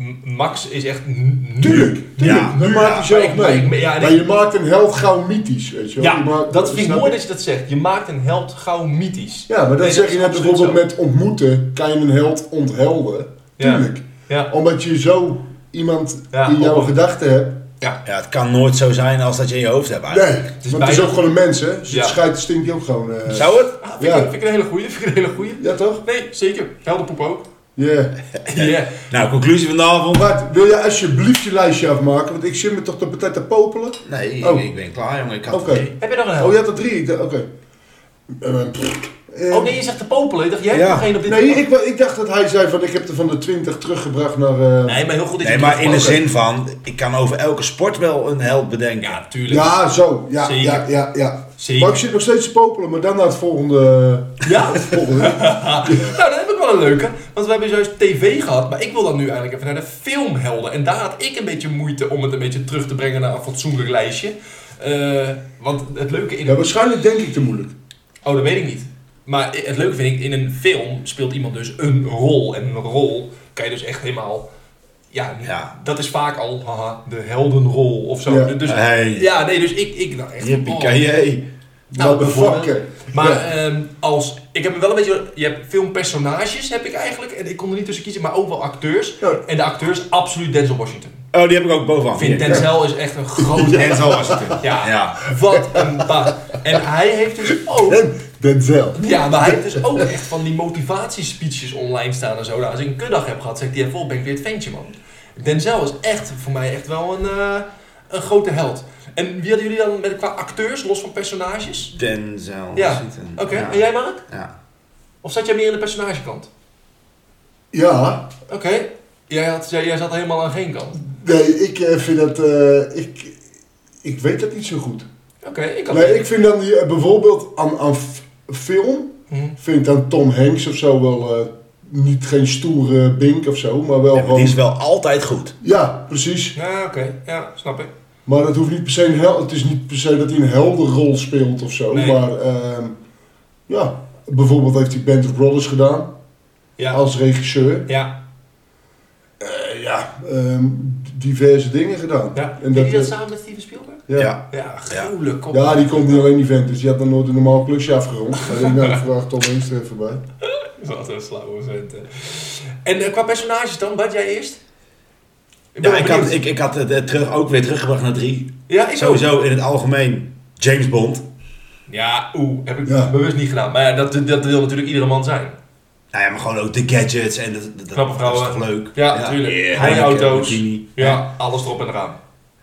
Speaker 3: M- Max is echt nu.
Speaker 2: Tuurlijk, tuurlijk.
Speaker 4: Ja,
Speaker 2: dat
Speaker 3: nu,
Speaker 2: maakt
Speaker 3: ja,
Speaker 2: je zelf
Speaker 3: maar ik-
Speaker 2: mee.
Speaker 3: maar ik- ja, en
Speaker 2: maar
Speaker 3: ik-
Speaker 2: je maakt hem heel gauw mythisch, weet je wel.
Speaker 3: Ja,
Speaker 2: Je maakt-
Speaker 3: dat vind ik
Speaker 2: snap
Speaker 3: mooi
Speaker 2: je?
Speaker 3: dat je dat zegt. Je maakt een held gauw mythisch.
Speaker 2: Ja, maar dat
Speaker 3: Nee,
Speaker 2: zeg je
Speaker 3: is
Speaker 2: net
Speaker 3: absoluut
Speaker 2: bijvoorbeeld
Speaker 3: zo.
Speaker 2: met ontmoeten. Kan je een held onthelden?
Speaker 3: Ja.
Speaker 2: Tuurlijk.
Speaker 3: Ja,
Speaker 2: Omdat je zo iemand
Speaker 3: Ja,
Speaker 2: in jouw
Speaker 3: op-
Speaker 2: gedachten hebt.
Speaker 3: ja.
Speaker 4: Ja, het kan nooit zo zijn als dat je in je hoofd hebt
Speaker 2: Nee,
Speaker 4: eigenlijk.
Speaker 2: het
Speaker 3: is
Speaker 2: is, het is
Speaker 3: bijna-
Speaker 2: ook gewoon een mens, hè? Dus
Speaker 3: Ja.
Speaker 2: het scheidt stinkt je ook gewoon. eh.
Speaker 4: Zou het?
Speaker 3: Ah, vind, ik,
Speaker 2: Ja.
Speaker 3: vind ik een hele goeie. Vind ik een hele goeie.
Speaker 2: Ja, toch?
Speaker 3: Nee, zeker. Heldenpoep ook.
Speaker 2: Ja.
Speaker 3: Ja.
Speaker 4: Nou, conclusie van de avond.
Speaker 2: Bart, wil jij alsjeblieft je lijstje afmaken? Want ik zit me toch de partij te popelen?
Speaker 4: Nee, ik-
Speaker 2: Oh.
Speaker 4: ik ben klaar jongen. Ik had
Speaker 2: Oké.
Speaker 4: het
Speaker 3: Heb je nog een held?
Speaker 2: Oh, je had er drie. Ik dacht- Oké. Eh, pff, eh,
Speaker 3: Oh nee, je zegt de popelen. Ik dacht, jij
Speaker 4: Ja.
Speaker 3: hebt nog geen op dit
Speaker 2: Nee, ik, wa- ik dacht dat hij zei van ik heb er van de 20 teruggebracht naar... eh,
Speaker 3: nee, maar heel goed. dat je
Speaker 4: Nee, maar in de
Speaker 3: terugkwam.
Speaker 4: zin van, ik kan over elke sport wel een held bedenken.
Speaker 3: Ja, tuurlijk.
Speaker 2: Ja, zo. Ja,
Speaker 3: Zeker.
Speaker 2: ja, ja, ja.
Speaker 3: Zeker.
Speaker 2: Maar ik zit nog steeds te popelen, maar dan naar het volgende...
Speaker 3: Ja?
Speaker 2: volgende.
Speaker 3: Nou, dan heb ik wel een leuke. Want we hebben juist tv gehad, maar ik wil dan nu eigenlijk even naar de filmhelden. En daar had ik een beetje moeite om het een beetje terug te brengen naar een fatsoenlijk lijstje. Eh, want het leuke in
Speaker 2: ja,
Speaker 3: een...
Speaker 2: waarschijnlijk denk ik te moeilijk.
Speaker 3: Oh, dat weet ik niet. Maar het leuke vind ik, in een film speelt iemand dus een rol. En een rol kan je dus echt helemaal... Ja,
Speaker 4: Ja.
Speaker 3: dat is vaak al haha, de heldenrol of zo.
Speaker 2: Ja.
Speaker 3: Dus,
Speaker 4: Hey.
Speaker 3: ja, nee, dus ik... ik nou, echt,
Speaker 4: Yippie-ki-yay.
Speaker 3: Nou,
Speaker 2: Nou, de
Speaker 3: bijvoorbeeld.
Speaker 2: fucker.
Speaker 3: Maar
Speaker 2: Ja.
Speaker 3: ehm, als. Ik heb er wel een beetje. Je hebt filmpersonages, heb ik eigenlijk. En ik kon er niet tussen kiezen, maar ook wel acteurs.
Speaker 2: Ja.
Speaker 3: En de acteurs, absoluut Denzel Washington.
Speaker 4: Oh, die heb ik ook bovenaan.
Speaker 3: Ik vind
Speaker 4: Hier.
Speaker 3: Denzel is echt een groot.
Speaker 4: Denzel was het.
Speaker 3: Ja.
Speaker 4: Ja.
Speaker 3: Wat een baas. En hij heeft dus ook.
Speaker 2: En Denzel.
Speaker 3: Ja, maar hij heeft dus ook echt van die motivatiespeeches online staan en zo. Nou, als ik een kuddag heb gehad, zeg ik die even op, ben ik weer het ventje, man. Denzel is echt voor mij echt wel een, eh, een grote held. En wie hadden jullie dan met, qua acteurs, los van personages?
Speaker 4: Denzel.
Speaker 3: Ja.
Speaker 4: Washington.
Speaker 3: Oké,
Speaker 4: Ja.
Speaker 3: en jij Mark?
Speaker 4: Ja.
Speaker 3: Of zat jij meer in de personagekant?
Speaker 2: Ja,
Speaker 3: Oké. Jij, had- jij, jij zat helemaal aan geen kant.
Speaker 2: nee, ik eh, vind dat... eh, ik, ik weet dat niet zo goed.
Speaker 3: Oké, ik had...
Speaker 2: Nee, ik vind dan die, eh, bijvoorbeeld aan, aan f- film...
Speaker 3: Hm.
Speaker 2: Vind ik dan Tom Hanks of zo wel... eh, niet geen stoere bink of zo, maar wel
Speaker 4: Ja, maar
Speaker 2: gewoon...
Speaker 4: die is wel altijd goed.
Speaker 2: Ja, precies.
Speaker 3: Ja, oké. Ja, snap ik.
Speaker 2: Maar dat hoeft niet per se een hel Het is niet per se dat hij een helder rol speelt of zo.
Speaker 3: Nee.
Speaker 2: Maar ehm, ja, bijvoorbeeld heeft hij Band of Brothers gedaan
Speaker 3: Ja.
Speaker 2: als regisseur.
Speaker 3: Ja.
Speaker 2: Eh, ja, ehm, diverse dingen gedaan.
Speaker 3: ja.
Speaker 2: En
Speaker 3: Deed je dat
Speaker 2: eh,
Speaker 3: samen met Steven Spielberg?
Speaker 2: ja. Ja.
Speaker 3: Ja, gruwelijk. kop.
Speaker 2: die komt niet alleen event, dus die had dan nooit een normaal klusje afgerond. Maar ik nou, vraag Tom Hanks er even bij.
Speaker 3: Dat is altijd een flauwe vent, hè. En eh, qua personages dan, wat jij eerst? Ik ben
Speaker 4: Ja,
Speaker 3: wel
Speaker 4: ik had,
Speaker 3: benieuwd.
Speaker 4: ik, ik had het eh, terug, ook weer teruggebracht naar drie.
Speaker 3: Ja, ik ook.
Speaker 4: Sowieso in het algemeen James Bond.
Speaker 3: Ja, oeh, heb ik
Speaker 2: Ja.
Speaker 3: bewust niet gedaan. Maar ja, dat, dat wil natuurlijk iedere man zijn.
Speaker 4: Nou ja, maar gewoon ook de gadgets en dat, dat,
Speaker 3: Knappe
Speaker 4: dat is
Speaker 3: vrouwen.
Speaker 4: toch leuk.
Speaker 3: Ja, natuurlijk.
Speaker 4: Yeah.
Speaker 3: Rijauto's.
Speaker 4: Lamborghini.
Speaker 3: Ja, alles erop en eraan.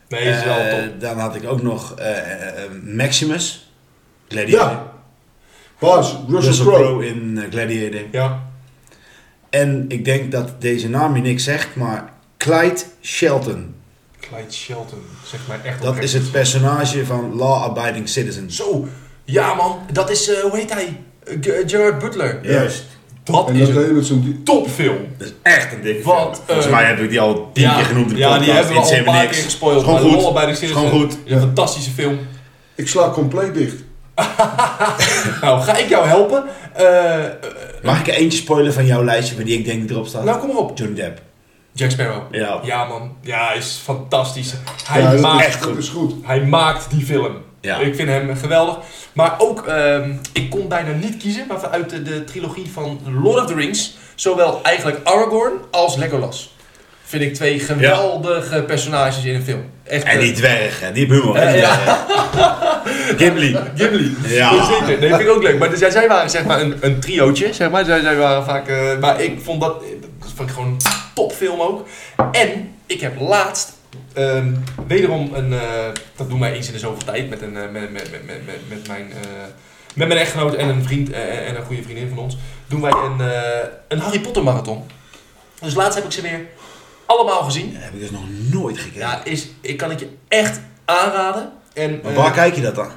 Speaker 3: Nee, is wel
Speaker 4: Eh,
Speaker 3: top.
Speaker 4: dan had ik ook nog eh, eh, eh, Maximus. Gladiator.
Speaker 2: Ja, Bas, Russell
Speaker 4: Russell
Speaker 2: Crowe.
Speaker 4: Crowe in eh, Gladiator.
Speaker 3: Ja.
Speaker 4: En ik denk dat deze naam je niks zegt, maar Clyde Shelton.
Speaker 3: Clyde Shelton, zeg maar echt
Speaker 4: Dat
Speaker 3: oprecht.
Speaker 4: is het personage van Law Abiding Citizen.
Speaker 3: Zo, ja man, dat is, eh, hoe heet hij? Eh, G- Gerard Butler.
Speaker 4: Juist.
Speaker 3: Dat
Speaker 2: En
Speaker 3: is
Speaker 2: dat
Speaker 3: een
Speaker 2: deed met zo'n... die-
Speaker 3: topfilm.
Speaker 4: Dat is echt een dikke
Speaker 3: Wat
Speaker 4: film. Volgens
Speaker 3: een-
Speaker 4: mij heb ik die al tien keer genoemd in de
Speaker 3: Ja, die
Speaker 4: podcast.
Speaker 3: hebben we
Speaker 4: It's
Speaker 3: al een
Speaker 4: helemaal
Speaker 3: paar
Speaker 4: niks.
Speaker 3: keer gespoild.
Speaker 4: Is gewoon
Speaker 3: maar
Speaker 4: goed.
Speaker 3: Law Abiding
Speaker 4: Is
Speaker 3: Citizen
Speaker 4: gewoon goed.
Speaker 3: is een fantastische film.
Speaker 2: Ik sla compleet dicht.
Speaker 3: Nou, ga ik jou helpen? Eh, eh,
Speaker 4: Mag ik er eentje spoilen van jouw lijstje, van die ik denk die erop staat?
Speaker 3: nou, kom maar op.
Speaker 4: Johnny Depp.
Speaker 3: Jack Sparrow.
Speaker 4: Ja.
Speaker 3: Ja man, ja, hij is fantastisch. Hij
Speaker 2: ja, dat
Speaker 3: maakt...
Speaker 2: is,
Speaker 4: echt goed.
Speaker 2: Dat is goed.
Speaker 3: Hij maakt die film.
Speaker 4: Ja.
Speaker 3: Ik vind hem geweldig. Maar ook, ehm, ik kon bijna niet kiezen, maar vanuit de, de trilogie van Lord of the Rings, zowel eigenlijk Aragorn als Legolas. Vind ik twee geweldige personages in een film. Echt,
Speaker 4: En
Speaker 3: eh,
Speaker 4: die dwerg, hè, die bummer.
Speaker 3: Ja,
Speaker 4: hè, die
Speaker 3: ja.
Speaker 4: dwerg. Ghibli.
Speaker 3: Ghibli.
Speaker 4: Ja.
Speaker 3: Ja, Zeker. Nee, vind ik ook leuk. Maar dus, ja, zij waren zeg maar een, een triootje, zeg maar. Zij, zij waren vaak... eh, maar ik vond dat... Dat vond ik gewoon een topfilm ook. En ik heb laatst... ehm, wederom een... eh, dat doen wij eens in de zoveel tijd met, een, eh, met, met, met, met, met- met mijn... eh, met mijn echtgenoot en een vriend eh, en een goede vriendin van ons doen wij een, eh, een Harry Potter marathon. Dus laatst heb ik ze weer allemaal gezien.
Speaker 4: Dat heb ik dus nog nooit gekeken.
Speaker 3: Ja, is, ik kan het je echt aanraden. En,
Speaker 4: maar
Speaker 3: eh,
Speaker 4: waar kijk je dat dan?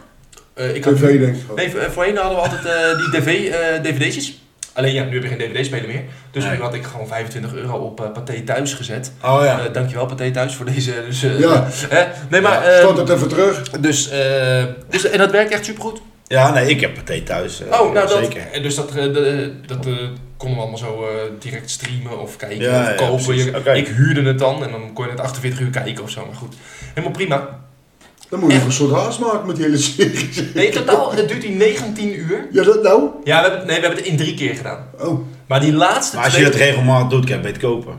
Speaker 3: eh, ik had
Speaker 2: TV denk ik gewoon.
Speaker 3: Nee, voor- voorheen hadden we altijd eh, die DV, eh, dvd'tjes. Alleen ja, nu heb ik geen dvd-speler meer. Dus
Speaker 4: Nee.
Speaker 3: nu had ik gewoon 25 euro op eh Pathé Thuis gezet.
Speaker 4: Oh ja.
Speaker 3: Eh, dankjewel Pathé Thuis voor deze... Dus, eh,
Speaker 2: Ja.
Speaker 3: eh, nee, maar...
Speaker 2: Stort
Speaker 3: eh,
Speaker 2: het even terug.
Speaker 3: dus, eh, dus, en dat werkt echt supergoed.
Speaker 4: Ja, nee, ik heb Pathé thuis. eh,
Speaker 3: Oh, nou dat,
Speaker 4: zeker.
Speaker 3: eh, dus dat, eh, de- dat eh, konden we allemaal zo eh, direct streamen of kijken
Speaker 4: Ja,
Speaker 3: of
Speaker 4: ja,
Speaker 3: kopen.
Speaker 4: precies.
Speaker 3: Je-
Speaker 4: Oké.
Speaker 3: Ik huurde het dan en dan kon je het 48 uur kijken of zo, maar goed. Helemaal prima.
Speaker 2: Dan
Speaker 3: eh,
Speaker 2: moet je nog een soort haast maken met die hele serie.
Speaker 3: Nee, in totaal eh, duurt die 19 uur.
Speaker 2: Ja, dat nou?
Speaker 3: Ja, we hebben, nee, we hebben het in drie keer gedaan.
Speaker 2: Oh,
Speaker 3: Maar die laatste
Speaker 4: Maar als je
Speaker 3: twee...
Speaker 4: dat regelmatig doet, kan je het beter kopen.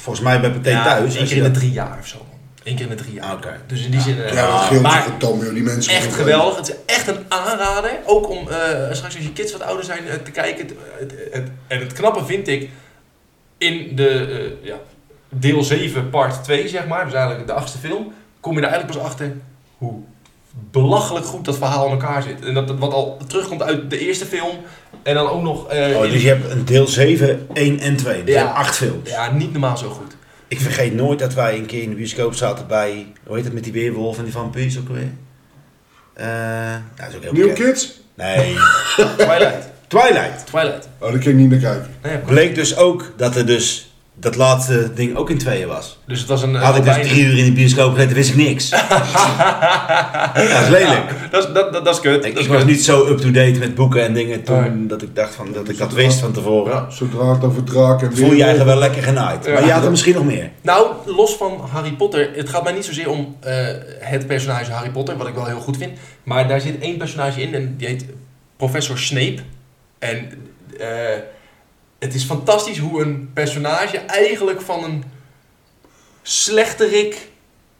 Speaker 4: Volgens mij bij Pathé
Speaker 3: Ja,
Speaker 4: thuis.
Speaker 3: één
Speaker 4: als
Speaker 3: keer
Speaker 4: je
Speaker 3: in de
Speaker 4: dat-
Speaker 3: drie jaar of zo. man. Eén keer in de drie jaar.
Speaker 4: Oké.
Speaker 3: Dus in die zin... eh,
Speaker 2: ja, dat scheelt
Speaker 3: maar
Speaker 2: toch een tam, joh, die mensen.
Speaker 3: echt
Speaker 2: van-
Speaker 3: geweldig. Het is echt een aanrader. Ook om eh, straks als je kids wat ouder zijn eh, te kijken. Het- het- het- en het knappe vind ik in de eh, ja, deel 7 part 2, zeg maar. Dus eigenlijk de achtste film. Kom je er eigenlijk pas achter hoe belachelijk goed dat verhaal in elkaar zit. En dat, dat wat al terugkomt uit de eerste film. En dan ook nog... eh,
Speaker 4: Oh,
Speaker 3: in-
Speaker 4: dus je hebt een deel 7, 1 en 2. Dus
Speaker 3: Ja.
Speaker 4: je hebt 8 films.
Speaker 3: Ja, niet normaal zo goed.
Speaker 4: Ik vergeet nooit dat wij een keer in de bioscoop zaten bij, hoe heet het met die weerwolf en die vampiers ook weer? Eh, nou, dat is ook heel
Speaker 2: New
Speaker 4: bekend.
Speaker 2: Kids?
Speaker 4: Nee,
Speaker 3: Twilight.
Speaker 4: Twilight.
Speaker 3: Twilight.
Speaker 2: Oh, daar kan ik niet naar kijken.
Speaker 3: Nee, heb ik ook.
Speaker 4: Bleek dus ook dat er dus dat laatste ding ook in tweeën was.
Speaker 3: dus het was een... eh,
Speaker 4: Had ik dus
Speaker 3: bijna-
Speaker 4: drie uur in de bioscoop gezeten, wist ik niks. Ja, dat is lelijk.
Speaker 3: Dat is, dat, dat, dat is kut.
Speaker 4: Ik,
Speaker 3: dat is
Speaker 4: ik was
Speaker 3: kut.
Speaker 4: niet zo up-to-date met boeken en dingen toen
Speaker 3: Nee.
Speaker 4: dat ik dacht van, dat ik Dus dat wist van tevoren.
Speaker 3: Ja.
Speaker 2: Zodra het over draken en
Speaker 4: Voel je je
Speaker 2: werelden-
Speaker 4: eigenlijk wel lekker genaaid.
Speaker 3: Ja.
Speaker 4: Maar je had er misschien nog meer.
Speaker 3: Nou, los van Harry Potter, het gaat mij niet zozeer om eh, het personage Harry Potter, wat ik wel heel goed vind. Maar daar zit één personage in en die heet Professor Snape. En eh, het is fantastisch hoe een personage eigenlijk van een slechterik,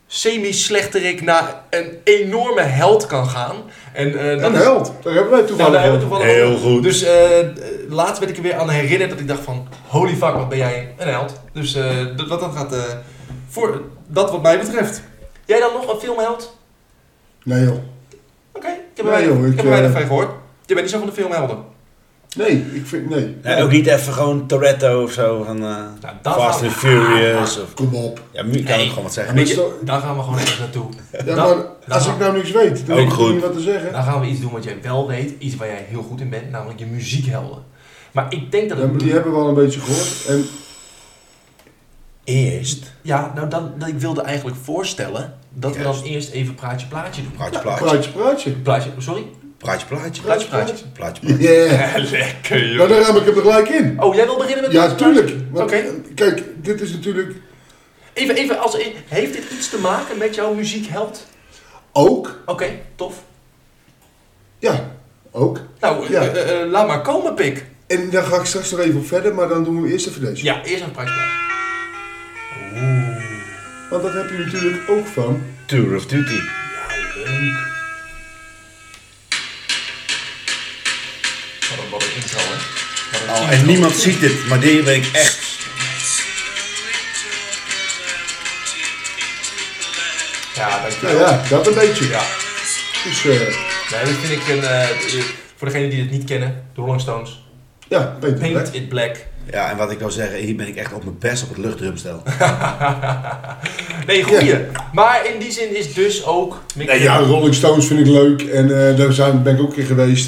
Speaker 3: semi-slechterik, naar een enorme held kan gaan. En eh, dat
Speaker 2: Een
Speaker 3: is-
Speaker 2: held, daar hebben wij
Speaker 3: nou,
Speaker 2: toevallig
Speaker 3: daar hebben we
Speaker 2: over.
Speaker 3: toevallig
Speaker 4: Heel
Speaker 3: over.
Speaker 4: goed.
Speaker 3: Dus eh, eh, laatst werd ik er weer aan herinnerd dat ik dacht van... Holy fuck, wat ben jij een held. Dus eh, dat, wat dat gaat... eh, voor dat wat mij betreft. Jij dan nog een filmheld?
Speaker 2: Nee joh.
Speaker 3: Oké, ik heb er
Speaker 2: Nee,
Speaker 3: weinig-
Speaker 2: joh,
Speaker 3: ik
Speaker 2: ik,
Speaker 3: heb er weinig
Speaker 2: eh,
Speaker 3: van gehoord. Je bent niet zo van de filmhelden.
Speaker 2: Nee, ik vind, nee.
Speaker 4: Nee, ook niet even gewoon Toretto of zo van eh,
Speaker 3: Nou, dat
Speaker 4: Fast
Speaker 3: gaan-
Speaker 4: and Furious. Of,
Speaker 2: Kom op.
Speaker 4: ja, nu kan
Speaker 3: Nee.
Speaker 4: ik gewoon wat
Speaker 2: Ja,
Speaker 4: zeggen.
Speaker 2: maar
Speaker 3: Weet je,
Speaker 2: zo-
Speaker 3: daar gaan we gewoon even naartoe.
Speaker 2: Ja,
Speaker 3: Dan-
Speaker 2: maar als
Speaker 3: dan-
Speaker 2: ik nou niks weet, dan
Speaker 4: Ook
Speaker 2: weet ik
Speaker 4: goed.
Speaker 2: niet wat te zeggen.
Speaker 3: Dan gaan we iets doen wat jij wel weet. Iets waar jij heel goed in bent. Namelijk je muziekhelden. Maar ik denk dat
Speaker 2: Ja, maar
Speaker 3: het...
Speaker 2: die hebben we al een beetje gehoord. En
Speaker 4: Eerst
Speaker 3: Ja, nou dan, dan, ik wilde eigenlijk voorstellen... dat we dan
Speaker 4: Juist.
Speaker 3: eerst even praatje plaatje doen.
Speaker 4: praatje, plaatje,
Speaker 2: praatje, praatje.
Speaker 3: Plaatje, sorry?
Speaker 4: praatje, plaatje,
Speaker 3: Plaatje praatje.
Speaker 4: plaatje,
Speaker 2: Ja,
Speaker 4: plaatje.
Speaker 3: Lekker
Speaker 2: nou daar heb ik hem er gelijk in.
Speaker 3: Oh, jij wil beginnen met
Speaker 2: Ja,
Speaker 3: deze
Speaker 2: tuurlijk.
Speaker 3: vraag?
Speaker 2: Want,
Speaker 3: Oké.
Speaker 2: eh, Kijk, dit is natuurlijk
Speaker 3: Even, even als in, heeft dit iets te maken met jouw muziekheld?
Speaker 2: ook,
Speaker 3: Oké, tof.
Speaker 2: ja, ook.
Speaker 3: Nou, eh,
Speaker 2: Ja.
Speaker 3: eh, eh, laat maar komen, pik.
Speaker 2: En daar ga ik straks nog even op verder, maar dan doen we eerst even deze.
Speaker 3: Ja, eerst een prijsplaat.
Speaker 2: Want dat heb je natuurlijk ook van.
Speaker 4: Tour of Duty.
Speaker 3: Ja, Oh, leuk. Wat een, wat een intro, hè? Wat een
Speaker 4: Oh,
Speaker 3: intro.
Speaker 4: en niemand ziet dit, maar die ben ik echt...
Speaker 3: Ja, dankjewel.
Speaker 2: Nou ja, dat een beetje.
Speaker 3: Ja.
Speaker 2: Dus eh,
Speaker 3: Nee, dat vind ik een... eh, eh, voor degenen die dit niet kennen, de Rolling Stones.
Speaker 2: ja, beter.
Speaker 3: Paint
Speaker 2: hè?
Speaker 3: it black.
Speaker 4: Ja, en wat ik wil zeggen, hier ben ik echt op mijn best op het luchtdrumstel.
Speaker 3: Nee, goeie. Maar in die zin is dus ook... Mick
Speaker 2: Nee, ja, Rolling Stones vind ik leuk en eh, daar zijn, ben ik ook een keer geweest.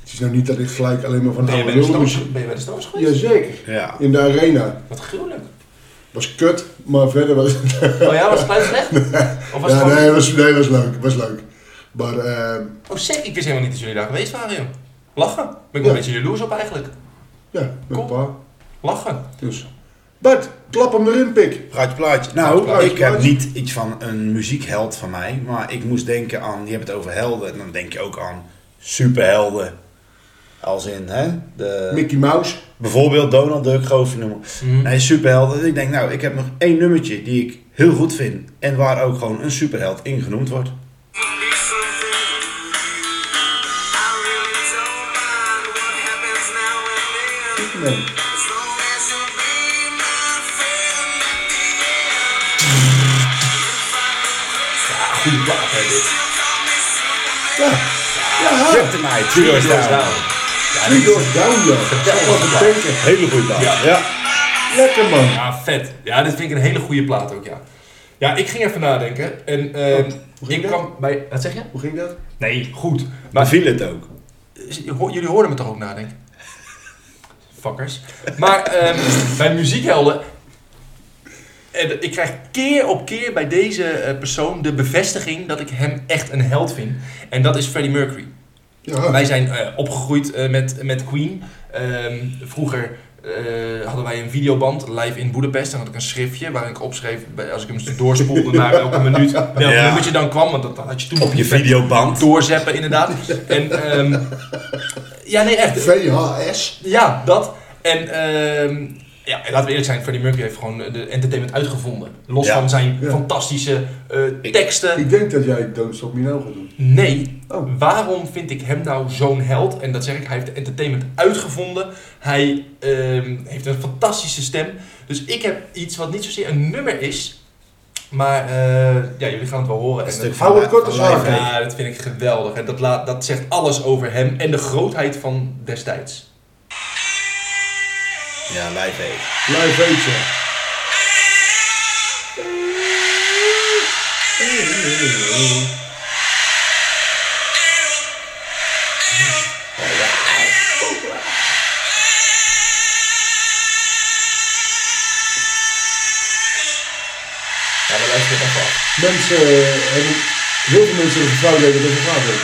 Speaker 2: Het is nou niet dat ik gelijk alleen maar van
Speaker 3: Ben je
Speaker 2: oude
Speaker 3: bij de
Speaker 2: Rolling
Speaker 3: Stones, ben je bij de Stones geweest?
Speaker 2: Jazeker.
Speaker 4: Ja.
Speaker 2: In de arena.
Speaker 3: Wat gruwelijk.
Speaker 2: Was kut, maar verder was het...
Speaker 3: Oh ja, was het geluid slecht? Of was het
Speaker 2: ja,
Speaker 3: gewoon...
Speaker 2: nee, was, nee, was leuk. Was leuk. Maar eh,
Speaker 3: Oh, sick. Ik wist helemaal niet dat jullie daar geweest waren, joh. Lachen. Ben ik wel een
Speaker 2: Ja.
Speaker 3: beetje jaloers op eigenlijk.
Speaker 2: ja, met
Speaker 3: Cool.
Speaker 2: een paar.
Speaker 3: Lachen.
Speaker 2: Dus. Bart, klap hem erin, pik.
Speaker 4: Praatje, plaatje. Nou,
Speaker 2: Praatje,
Speaker 4: ik heb
Speaker 2: plaatje.
Speaker 4: niet iets van een muziekheld van mij, maar ik moest denken aan, je hebt het over helden, en dan denk je ook aan superhelden. Als in, hè, de...
Speaker 2: Mickey Mouse.
Speaker 4: Bijvoorbeeld Donald Duck, grove noemen.
Speaker 3: Mhm.
Speaker 4: Nee, superhelden. Dus ik denk, nou, ik heb nog één nummertje die ik heel goed vind. En waar ook gewoon een superheld in genoemd wordt.
Speaker 2: Nee.
Speaker 3: Goede plaat, hè, dit.
Speaker 2: Ja. Ja, ja.
Speaker 4: Kryptonite, Three Doors Down.
Speaker 3: Ja,
Speaker 2: Three
Speaker 3: dit
Speaker 2: Doors Down, joh. Dat was het denken.
Speaker 4: Hele goede plaat.
Speaker 3: Ja.
Speaker 4: Ja.
Speaker 2: Lekker, man.
Speaker 3: Ja, Ah, vet. Ja, dit vind ik een hele goede plaat ook, ja. Ja, ik ging even nadenken. En ehm,
Speaker 2: Oh, hoe
Speaker 3: ik
Speaker 2: ging dat?
Speaker 3: kwam bij... Wat zeg je?
Speaker 2: Hoe ging dat?
Speaker 3: Nee, goed.
Speaker 4: Maar
Speaker 3: Maar
Speaker 4: viel het ook.
Speaker 3: eh, ho- jullie hoorden me toch ook nadenken? Fuckers. Maar ehm, bij muziekhelden... En ik krijg keer op keer bij deze eh, persoon de bevestiging dat ik hem echt een held vind. En dat is Freddie Mercury.
Speaker 2: Ja.
Speaker 3: Wij zijn eh, opgegroeid eh, met, met Queen. Ehm, vroeger eh, hadden wij een videoband live in Boedapest. En had ik een schriftje waarin ik opschreef, bij- als ik hem doorspoelde naar welke minuut, welk
Speaker 4: Ja.
Speaker 3: nummertje dan kwam. Want dat, dat had je toen
Speaker 4: Op je
Speaker 3: nog niet
Speaker 4: videoband.
Speaker 3: doorzeppen inderdaad. En, ehm, ja, nee, echt.
Speaker 2: VHS.
Speaker 3: Ja, dat. En ehm, ja, en laten we eerlijk zijn, Freddie Mercury heeft gewoon eh, de entertainment uitgevonden. Los
Speaker 4: Ja.
Speaker 3: van zijn
Speaker 2: Ja.
Speaker 3: fantastische eh, teksten.
Speaker 2: Ik denk dat jij Don't Stop Me Now gaat doen.
Speaker 3: Nee,
Speaker 2: Oh.
Speaker 3: waarom vind ik hem nou zo'n held? En dat zeg ik, hij heeft de entertainment uitgevonden. Hij ehm, heeft een fantastische stem. Dus ik heb iets wat niet zozeer een nummer is. Maar eh, ja, jullie gaan het wel horen.
Speaker 4: Een
Speaker 3: En
Speaker 4: stuk
Speaker 3: dat-
Speaker 4: van
Speaker 2: Hou het kort
Speaker 4: van
Speaker 2: en zacht.
Speaker 4: lijf.
Speaker 3: ja, dat vind ik geweldig. En dat, laat, dat zegt alles over hem en de grootheid van destijds.
Speaker 4: Ja, lijf heeft.
Speaker 2: Live weet je.
Speaker 3: Ja, we luisteren even af.
Speaker 2: Mensen eh, hebben... Heel veel mensen hebben vertrouwen dat ze gaan hebben.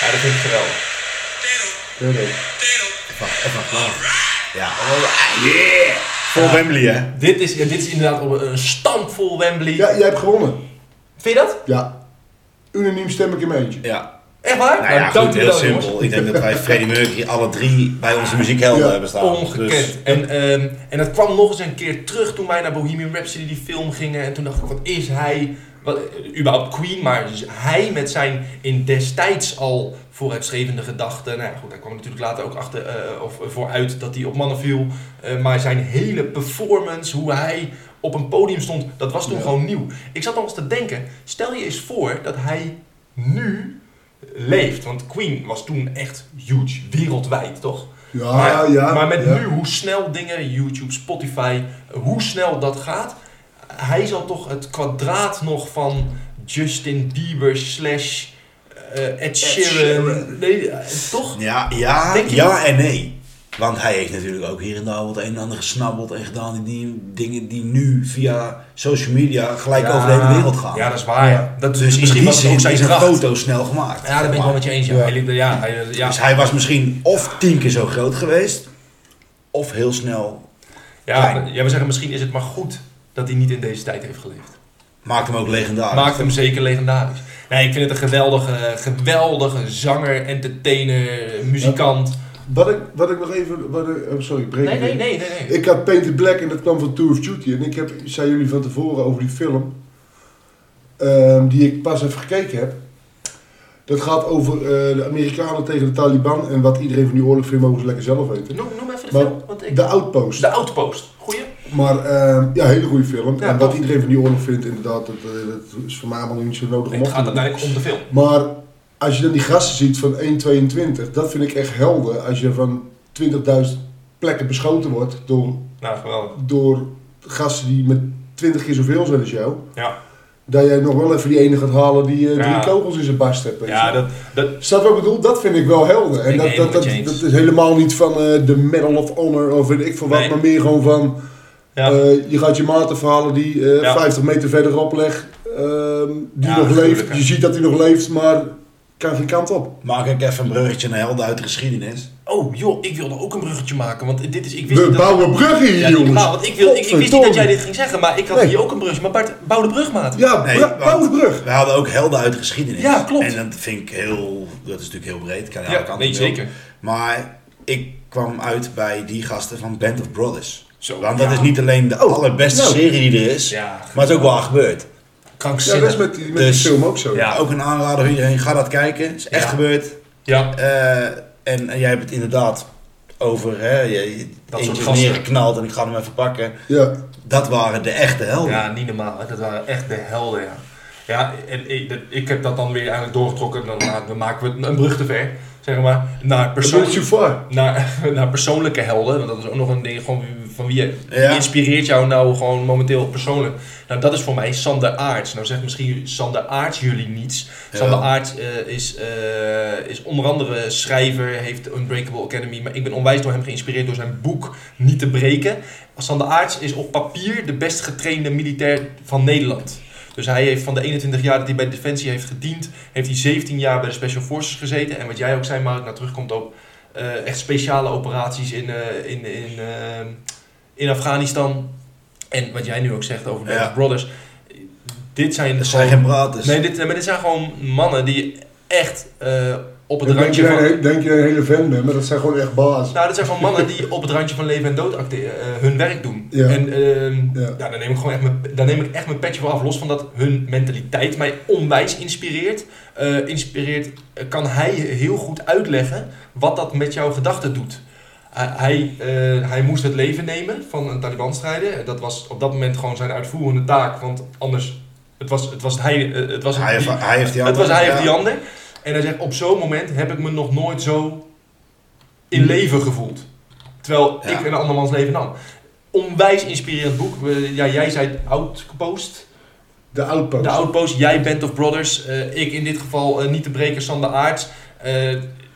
Speaker 3: Ja, dat vind ik geweldig.
Speaker 2: Ja, nee.
Speaker 4: Wacht, even klaar. Ja. Yeah! Voor Wembley, hè?
Speaker 3: Dit is, ja, dit is inderdaad op een, een stampvol Wembley.
Speaker 2: Ja, jij hebt gewonnen.
Speaker 3: Vind je dat?
Speaker 2: Ja. Unaniem stem ik in mijn eentje.
Speaker 4: Ja.
Speaker 3: Echt waar?
Speaker 4: Nou ja,
Speaker 3: dank
Speaker 4: goed,
Speaker 3: u
Speaker 4: heel
Speaker 3: wel,
Speaker 4: simpel.
Speaker 3: jongens.
Speaker 4: Ik denk dat wij Freddie Mercury alle drie bij onze muziekhelden
Speaker 2: Ja.
Speaker 4: hebben staan.
Speaker 3: Ongekend.
Speaker 4: Dus-
Speaker 3: En, ehm, en dat kwam nog eens een keer terug toen wij naar Bohemian Rhapsody die film gingen. En toen dacht ik, wat is hij? Wat, eh, überhaupt Queen, maar z- hij met zijn in destijds al vooruitstrevende gedachten. Nou ja, goed, hij kwam natuurlijk later ook achter, eh, of vooruit dat hij op mannen viel. Eh, maar zijn hele performance, hoe hij op een podium stond, dat was toen
Speaker 2: Ja.
Speaker 3: gewoon nieuw. Ik zat nog eens te denken, stel je eens voor dat hij nu leeft. Want Queen was toen echt huge, wereldwijd, toch?
Speaker 2: Ja,
Speaker 3: Maar,
Speaker 2: ja.
Speaker 3: maar met
Speaker 2: ja.
Speaker 3: nu, hoe snel dingen, YouTube, Spotify, hoe snel dat gaat. Hij zal toch het kwadraat nog van Justin Bieber slash eh, Ed Sheeran.
Speaker 4: Sheeran.
Speaker 3: Nee, eh, toch?
Speaker 4: Ja, ja,
Speaker 3: Denk je
Speaker 4: ja
Speaker 3: niet?
Speaker 4: en nee. Want hij heeft natuurlijk ook hier en daar wat een en ander gesnabbeld en gedaan. Die, die dingen die nu via social media gelijk
Speaker 3: Ja.
Speaker 4: over de hele wereld gaan.
Speaker 3: Ja, dat is waar. ja. Dat,
Speaker 4: dus in
Speaker 3: misschien
Speaker 4: die
Speaker 3: was het
Speaker 4: zin
Speaker 3: ook zijn
Speaker 4: is een
Speaker 3: kracht.
Speaker 4: foto snel gemaakt.
Speaker 3: Ja, daar ben ik wel met je eens. Ja.
Speaker 2: Ja.
Speaker 3: Hij liet- ja, hij- ja.
Speaker 4: Dus hij was misschien of tien keer zo groot geweest, of heel snel.
Speaker 3: Ja,
Speaker 4: klein.
Speaker 3: ja, we zeggen misschien is het maar goed dat hij niet in deze tijd heeft geleefd.
Speaker 4: Maakt hem ook legendarisch.
Speaker 3: Maakt hem zeker legendarisch. Nee, ik vind het een geweldige, geweldige zanger, entertainer, muzikant.
Speaker 2: Wat ik, wat ik nog even... Wat ik, oh, sorry, ik breek
Speaker 3: Nee,
Speaker 2: het
Speaker 3: nee,
Speaker 2: in.
Speaker 3: nee, nee. nee.
Speaker 2: Ik had Painted Black en dat kwam van Tour of Duty. En ik heb, zei jullie van tevoren over die film, ehm, die ik pas even gekeken heb. Dat gaat over eh, de Amerikanen tegen de Taliban en wat iedereen van die oorlog vindt, mogen ze lekker zelf weten.
Speaker 3: Noem, noem even de
Speaker 2: Maar
Speaker 3: film. Want ik...
Speaker 2: De Outpost.
Speaker 3: De Outpost. Goeie.
Speaker 2: Maar ehm, ja, hele goede film.
Speaker 3: Ja,
Speaker 2: en wat
Speaker 3: tof.
Speaker 2: iedereen van die oorlog vindt, inderdaad, dat, eh, dat is voor mij allemaal niet zo nodig
Speaker 3: Nee,
Speaker 2: om
Speaker 3: het
Speaker 2: op te
Speaker 3: gaat
Speaker 2: doen.
Speaker 3: uiteindelijk om de film.
Speaker 2: Maar als je dan die gasten ziet van 1,22, dat vind ik echt helder. Als je van 20.000 plekken beschoten wordt door
Speaker 3: Nou, geweldig.
Speaker 2: door gasten die met 20 keer zoveel zijn als jou.
Speaker 3: Ja.
Speaker 2: Dat jij nog wel even die ene gaat halen die eh,
Speaker 3: Ja.
Speaker 2: drie kogels in zijn barst hebt. weet
Speaker 3: Ja,
Speaker 2: je.
Speaker 3: dat, dat,
Speaker 2: Snap je wat ik bedoel? Dat vind ik wel helder. En
Speaker 3: Ik
Speaker 2: dat,
Speaker 3: helemaal
Speaker 2: dat, dat,
Speaker 3: met je eens.
Speaker 2: dat is helemaal niet van eh, de Medal of Honor of weet ik veel wat.
Speaker 3: Nee.
Speaker 2: Maar meer gewoon van,
Speaker 3: ja.
Speaker 2: eh, je gaat je maten verhalen die eh,
Speaker 3: Ja.
Speaker 2: 50 meter verderop legt. ehm, die
Speaker 3: Ja,
Speaker 2: nog
Speaker 3: natuurlijk,
Speaker 2: leeft.
Speaker 3: hè.
Speaker 2: Je ziet dat hij nog leeft, maar kan geen kant op.
Speaker 4: Maak ik even een bruggetje naar helden uit de geschiedenis.
Speaker 3: Oh joh, ik wilde ook een bruggetje maken, want dit is... Ik wist
Speaker 2: We
Speaker 3: niet dat-
Speaker 2: bouwen bruggen hier,
Speaker 4: Ja, die
Speaker 2: jongens.
Speaker 3: Nou, want ik, wil, ik, ik wist niet dat
Speaker 2: Godverdomme.
Speaker 3: jij dit ging zeggen, maar ik had
Speaker 2: Nee.
Speaker 3: hier ook een brugje. Maar Bart, bouw de brug, maat.
Speaker 2: Ja,
Speaker 4: Nee,
Speaker 2: bra-
Speaker 4: want-
Speaker 2: bouw de brug.
Speaker 4: We hadden ook helden uit de geschiedenis.
Speaker 3: Ja, klopt.
Speaker 4: En dat vind ik heel, dat is natuurlijk heel breed. Kan
Speaker 3: Ja,
Speaker 4: je alle kanten
Speaker 3: nee,
Speaker 4: op.
Speaker 3: zeker.
Speaker 4: Maar ik kwam uit bij die gasten van Band of Brothers.
Speaker 3: Zo,
Speaker 4: Want dat
Speaker 3: ja.
Speaker 4: is niet alleen de allerbeste
Speaker 2: nou.
Speaker 4: serie die er is,
Speaker 3: Ja.
Speaker 4: maar het is ook wel gebeurd.
Speaker 2: Ja, dat is
Speaker 3: Krankzinnig.
Speaker 2: met, die- met Oh.
Speaker 4: Dus-
Speaker 2: die film ook zo.
Speaker 3: Ja.
Speaker 4: Ook een aanrader voor iedereen, ga dat kijken. Het is echt
Speaker 3: Ja.
Speaker 4: gebeurd.
Speaker 3: Ja,
Speaker 4: Eh, en, en jij hebt het inderdaad over, hè, je, je
Speaker 3: Dat
Speaker 4: eentje
Speaker 3: soort
Speaker 4: is
Speaker 3: gasten.
Speaker 4: neergeknald en ik ga hem even pakken.
Speaker 2: Ja.
Speaker 4: Dat waren de echte helden.
Speaker 3: ja, niet normaal. Dat waren echt de helden, ja. Ja, en ik, dat- ik heb dat dan weer eigenlijk doorgetrokken. Dan, ma- dan maken we een brug te ver, zeg maar. Naar
Speaker 2: Persoonlijk.
Speaker 3: persoonlijke, naar, naar persoonlijke helden. Want dat is ook nog een ding gewoon wie- van wie je... wie
Speaker 4: Ja.
Speaker 3: inspireert jou nou gewoon momenteel persoonlijk? Nou, dat is voor mij Sander Aarts. Nou zegt misschien Sander Aarts jullie niets.
Speaker 4: Ja.
Speaker 3: Sander Aarts eh, is, eh, is onder andere schrijver, heeft Unbreakable Academy. Maar ik ben onwijs door hem geïnspireerd door zijn boek Niet te breken. Sander Aarts is op papier de best getrainde militair van Nederland. Dus hij heeft van de 21 jaar dat hij bij Defensie heeft gediend, heeft hij 17 jaar bij de Special Forces gezeten. En wat jij ook zei, Mark, nou terugkomt op eh, echt speciale operaties in, eh, in, in, eh, in Afghanistan. En wat jij nu ook zegt over de
Speaker 4: Ja.
Speaker 3: Brothers. Dit zijn,
Speaker 4: Dat zijn geen dus
Speaker 3: gewoon-
Speaker 4: braters.
Speaker 3: Nee, dit, maar dit zijn gewoon mannen die echt eh, op het
Speaker 2: Dan denk,
Speaker 3: randje
Speaker 2: jij,
Speaker 3: van...
Speaker 2: denk jij een hele fan bent, maar dat zijn gewoon echt baas.
Speaker 3: Nou, dat zijn gewoon mannen die op het randje van leven en dood acteren, eh, hun werk doen.
Speaker 2: Ja.
Speaker 3: En ehm
Speaker 2: Ja.
Speaker 3: ja. daar neem ik gewoon echt mijn, daar neem ik echt mijn petje voor af. Los van dat hun mentaliteit mij onwijs inspireert. eh, inspireert eh, kan hij heel goed uitleggen wat dat met jouw gedachten doet. Hij- hij, eh, hij moest het leven nemen van een Taliban-strijder. Dat was op dat moment gewoon zijn uitvoerende taak. Want anders, het was, het was hij, eh, het was
Speaker 4: Hij heeft,
Speaker 3: die-
Speaker 4: hij heeft die
Speaker 3: het
Speaker 4: andere-
Speaker 3: was hij of
Speaker 4: ja.
Speaker 3: die ander. En hij zegt, op zo'n moment heb ik me nog nooit zo in leven gevoeld. Terwijl
Speaker 4: Ja.
Speaker 3: ik een andermans leven nam. Onwijs inspirerend boek. We- Ja, jij zei Outpost.
Speaker 2: De outpost.
Speaker 3: De Outpost, jij Band of Brothers. eh, ik in dit geval eh, niet te breken, Sander Aarts. Eh,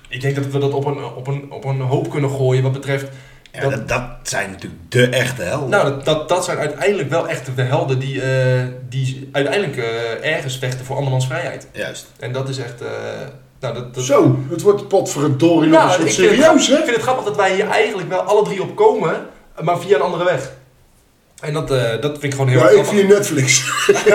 Speaker 3: ik denk dat we dat op een, op, een, op een hoop kunnen gooien wat betreft...
Speaker 4: Ja, dat, dat zijn natuurlijk de echte helden.
Speaker 3: Nou, dat, dat, dat zijn uiteindelijk wel echt de helden die, eh, die uiteindelijk eh, ergens vechten voor andermans vrijheid.
Speaker 4: Juist.
Speaker 3: En dat is echt... eh, nou, dat, dat,
Speaker 2: Zo, het wordt potverdorie nog
Speaker 3: Nou,
Speaker 2: een soort
Speaker 3: ik vind het
Speaker 2: serieus,
Speaker 3: grap-
Speaker 2: hè?
Speaker 3: Ik vind het grappig dat wij hier eigenlijk wel alle drie op komen, maar via een andere weg. En dat, eh, dat vind ik gewoon heel
Speaker 2: Ja,
Speaker 3: erg
Speaker 2: ik
Speaker 3: grappig.
Speaker 2: via Netflix.